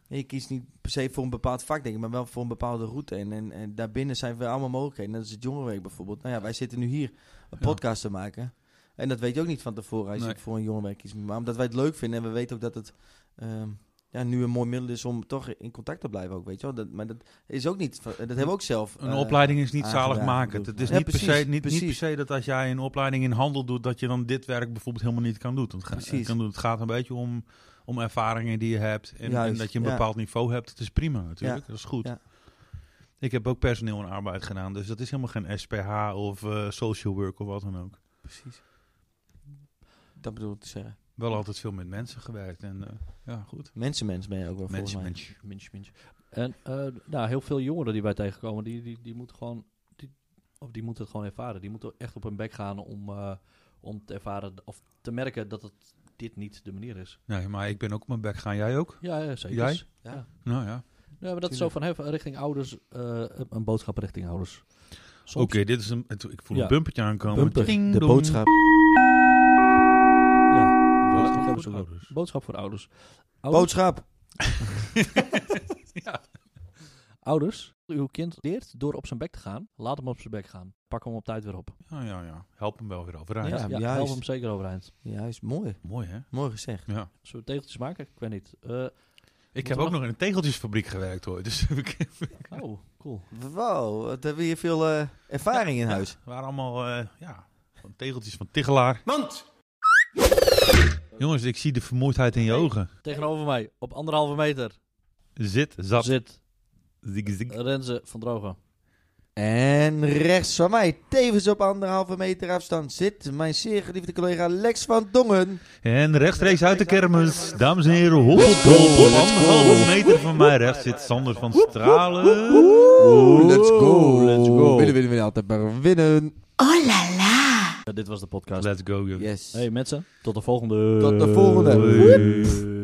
[SPEAKER 1] Je kiest niet per se voor een bepaald vak, denk ik, maar wel voor een bepaalde route. En, en, en daarbinnen zijn we allemaal mogelijkheden. Dat is het jongerenwerk bijvoorbeeld. Nou ja, wij zitten nu hier een
[SPEAKER 2] Ja.
[SPEAKER 1] podcast te maken. En dat weet je ook niet van tevoren als
[SPEAKER 2] Nee.
[SPEAKER 1] je voor een jongerenwerk kiest. Maar omdat wij het leuk vinden en we weten ook dat het ehm, ja, nu een mooi middel is om toch in contact te blijven ook, weet je wel. Dat, maar dat is ook niet... van- Dat hebben we ook zelf.
[SPEAKER 2] Een
[SPEAKER 1] eh,
[SPEAKER 2] opleiding is niet
[SPEAKER 1] aangedaan,
[SPEAKER 2] zaligmakend.
[SPEAKER 1] bedoel
[SPEAKER 2] Het
[SPEAKER 1] ik.
[SPEAKER 2] is
[SPEAKER 1] Ja,
[SPEAKER 2] niet, per se,
[SPEAKER 1] precies,
[SPEAKER 2] niet, niet per
[SPEAKER 1] precies.
[SPEAKER 2] se dat als jij een opleiding in handel doet, dat je dan dit werk bijvoorbeeld helemaal niet kan doen. Het, ga-
[SPEAKER 1] Precies.
[SPEAKER 2] kan doen. het gaat een beetje om, om ervaringen die je hebt en, en
[SPEAKER 1] Juist,
[SPEAKER 2] dat je een
[SPEAKER 1] ja.
[SPEAKER 2] bepaald niveau hebt. Het is prima natuurlijk,
[SPEAKER 1] Ja,
[SPEAKER 2] dat is goed.
[SPEAKER 1] ja.
[SPEAKER 2] Ik heb ook personeel en arbeid gedaan, dus dat is helemaal geen SPH of eh, social work of wat dan ook.
[SPEAKER 1] Precies. Dat bedoel ik te zeggen.
[SPEAKER 2] Wel altijd veel met mensen gewerkt en eh, ja, goed.
[SPEAKER 1] Mensenmens ben je ook wel volgens
[SPEAKER 2] Mensen,
[SPEAKER 1] mij.
[SPEAKER 2] mensen.
[SPEAKER 3] Minch, minch. En eh, nou, heel veel jongeren die wij tegenkomen, die, die, die moeten gewoon... Die, of die moeten het gewoon ervaren. Die moeten echt op hun bek gaan om, eh, om te ervaren... Of te merken dat het, dit niet de manier is.
[SPEAKER 2] Nee, maar ik ben ook op mijn bek gaan. Jij ook?
[SPEAKER 3] Ja, ja zeker.
[SPEAKER 2] Jij?
[SPEAKER 3] Ja.
[SPEAKER 1] Ja.
[SPEAKER 2] Nou ja.
[SPEAKER 3] Ja, maar dat is zo van hè, van richting ouders, eh, een boodschap richting ouders.
[SPEAKER 2] Oké,
[SPEAKER 3] Soms
[SPEAKER 2] dit is een. het- Ik voel
[SPEAKER 3] Ja.
[SPEAKER 2] een bumpertje aankomen.
[SPEAKER 3] Bumper.
[SPEAKER 2] Ding
[SPEAKER 1] De
[SPEAKER 2] dong.
[SPEAKER 1] boodschap.
[SPEAKER 3] Ja,
[SPEAKER 2] Boodschap voor
[SPEAKER 3] boodschap, voor
[SPEAKER 2] ouders.
[SPEAKER 3] ouders. boodschap voor ouders.
[SPEAKER 2] Oh.
[SPEAKER 3] Ouders,
[SPEAKER 1] Boodschap.
[SPEAKER 3] ouders, uw kind leert door op zijn bek te gaan. Laat hem op zijn bek gaan. Pak hem op tijd weer op.
[SPEAKER 2] Ja, Oh, ja, ja. Help hem wel weer overeind.
[SPEAKER 3] ja, ja,
[SPEAKER 1] juist.
[SPEAKER 3] help hem zeker overeind.
[SPEAKER 1] Juist, mooi.
[SPEAKER 2] Mooi hè?
[SPEAKER 1] Mooi gezegd.
[SPEAKER 2] Ja.
[SPEAKER 3] Zullen we tegeltjes maken? Ik weet niet. Eh,
[SPEAKER 2] Ik
[SPEAKER 3] we
[SPEAKER 2] heb ook
[SPEAKER 3] nog-
[SPEAKER 2] nog in een tegeltjesfabriek gewerkt hoor. Dus we
[SPEAKER 3] oh, cool.
[SPEAKER 1] Wow, wat hebben we hier veel eh, ervaring in huis.
[SPEAKER 2] waren allemaal eh, ja, van tegeltjes van Tigelaar.
[SPEAKER 5] Mand!
[SPEAKER 2] Jongens, ik zie de vermoeidheid in je ogen.
[SPEAKER 3] Tegenover mij, op anderhalve meter,
[SPEAKER 2] Zit, zat,
[SPEAKER 3] zit
[SPEAKER 2] zik, zik.
[SPEAKER 3] Renze van Drogen.
[SPEAKER 1] En rechts van mij, tevens op anderhalve meter afstand, zit mijn zeer geliefde collega Lex van Dongen.
[SPEAKER 2] En rechtstreeks uit de kermis, dames en heren, hoppeldol. Op anderhalve meter van mij rechts zit Sander van Stralen.
[SPEAKER 1] Oeh,
[SPEAKER 2] let's go. let's go.
[SPEAKER 1] Winnen, winnen, winnen. Altijd maar winnen.
[SPEAKER 3] Ja, dit was de podcast.
[SPEAKER 2] Let's go, jongens.
[SPEAKER 1] Yes.
[SPEAKER 3] Hey mensen, tot de volgende.
[SPEAKER 1] Tot de volgende.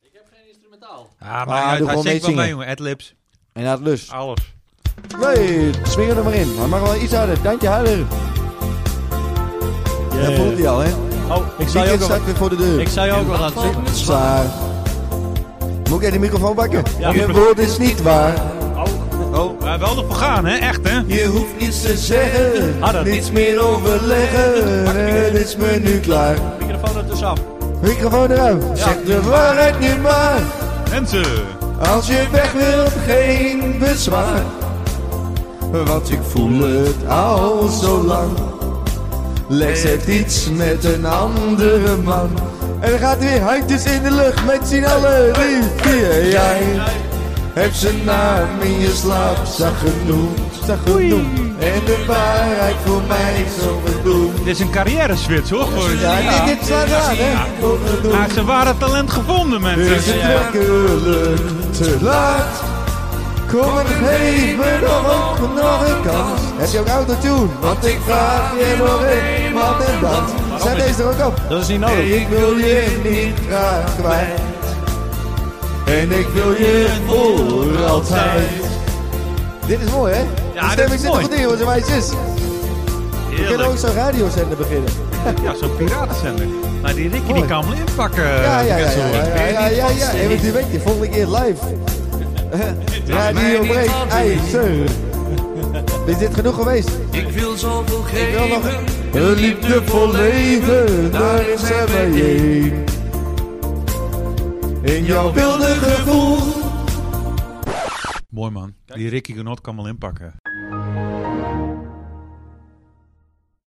[SPEAKER 3] Ik heb geen instrumentaal.
[SPEAKER 2] Ah,
[SPEAKER 1] Ah,
[SPEAKER 2] maar
[SPEAKER 1] doe
[SPEAKER 2] hij
[SPEAKER 1] gewoon
[SPEAKER 2] zingt wel
[SPEAKER 1] meezingen.
[SPEAKER 2] mee, jongen. Adlibs,
[SPEAKER 1] En uit lust.
[SPEAKER 2] alles.
[SPEAKER 1] Nee, swingen er maar in. Maar mag wel iets harder. Dankje harder. Dat voelt hij al, hè?
[SPEAKER 3] Oh, ik zou je
[SPEAKER 1] Weekend
[SPEAKER 3] ook,
[SPEAKER 1] staat weer voor de deur.
[SPEAKER 3] ik zou je ook wel aan het zingen.
[SPEAKER 1] Zwaar. Moet ik in de microfoon bakken? Je woord is niet waar.
[SPEAKER 2] Oh, maar wel ervoor gaan, hè? Echt, hè?
[SPEAKER 1] Je hoeft niets te zeggen,
[SPEAKER 3] Harder.
[SPEAKER 1] niets meer overleggen. Het is me nu klaar.
[SPEAKER 3] Microfoon er tussenaf.
[SPEAKER 1] Microfoon eruit. Zeg de waarheid nu maar.
[SPEAKER 2] Mensen.
[SPEAKER 1] Als je weg wilt, geen bezwaar. Want ik voel het al zo lang. Lex heeft iets met een andere man. En er gaat weer handjes in de lucht met z'n allen drie, vier. Jij hebt zijn naam in je slaap zacht genoemd. Zacht genoemd. En de waarheid voor mij zo bedoeld.
[SPEAKER 2] Dit is een carrière switch hoor. Voor
[SPEAKER 1] Ja, ik denk het staat aan, hè. Voor genoemd.
[SPEAKER 2] Hij heeft zijn ware talent gevonden,
[SPEAKER 1] Is
[SPEAKER 2] mensen.
[SPEAKER 1] het werkelijk te laat? Kom en geef me nog een, nog een kans. Heb je ook autotune? Want ik vraag je nog een, wat en dat. Zet deze er ook op.
[SPEAKER 3] Dat is niet nodig.
[SPEAKER 1] Nee, ik wil je niet graag kwijt. En ik wil je voor altijd. Dit is mooi, hè? De
[SPEAKER 2] Ja, dit
[SPEAKER 1] stemming
[SPEAKER 2] is
[SPEAKER 1] zit er
[SPEAKER 2] mooi.
[SPEAKER 1] goed in, jongens en meisjes. We kunnen ook
[SPEAKER 2] Heerlijk.
[SPEAKER 1] zo'n radiozender beginnen.
[SPEAKER 2] Ja, zo'n piratenzender. Maar die Ricky die
[SPEAKER 1] Mooi.
[SPEAKER 2] kan wel inpakken.
[SPEAKER 1] Ja, ja, ja,
[SPEAKER 2] eh, mensen,
[SPEAKER 1] ja,
[SPEAKER 2] hoor.
[SPEAKER 1] ja, ja, ja, ja. En wat je weet, je volgende keer live. Radio Breek, IJzer. Is dit genoeg geweest?
[SPEAKER 4] Ik wil zoveel
[SPEAKER 1] Ik wil nog
[SPEAKER 4] geven.
[SPEAKER 1] een liefdevol leven, daar is hij bijeen.
[SPEAKER 5] in jouw wilde gevoel.
[SPEAKER 2] Mooi man. Die Ricky Genot kan wel inpakken.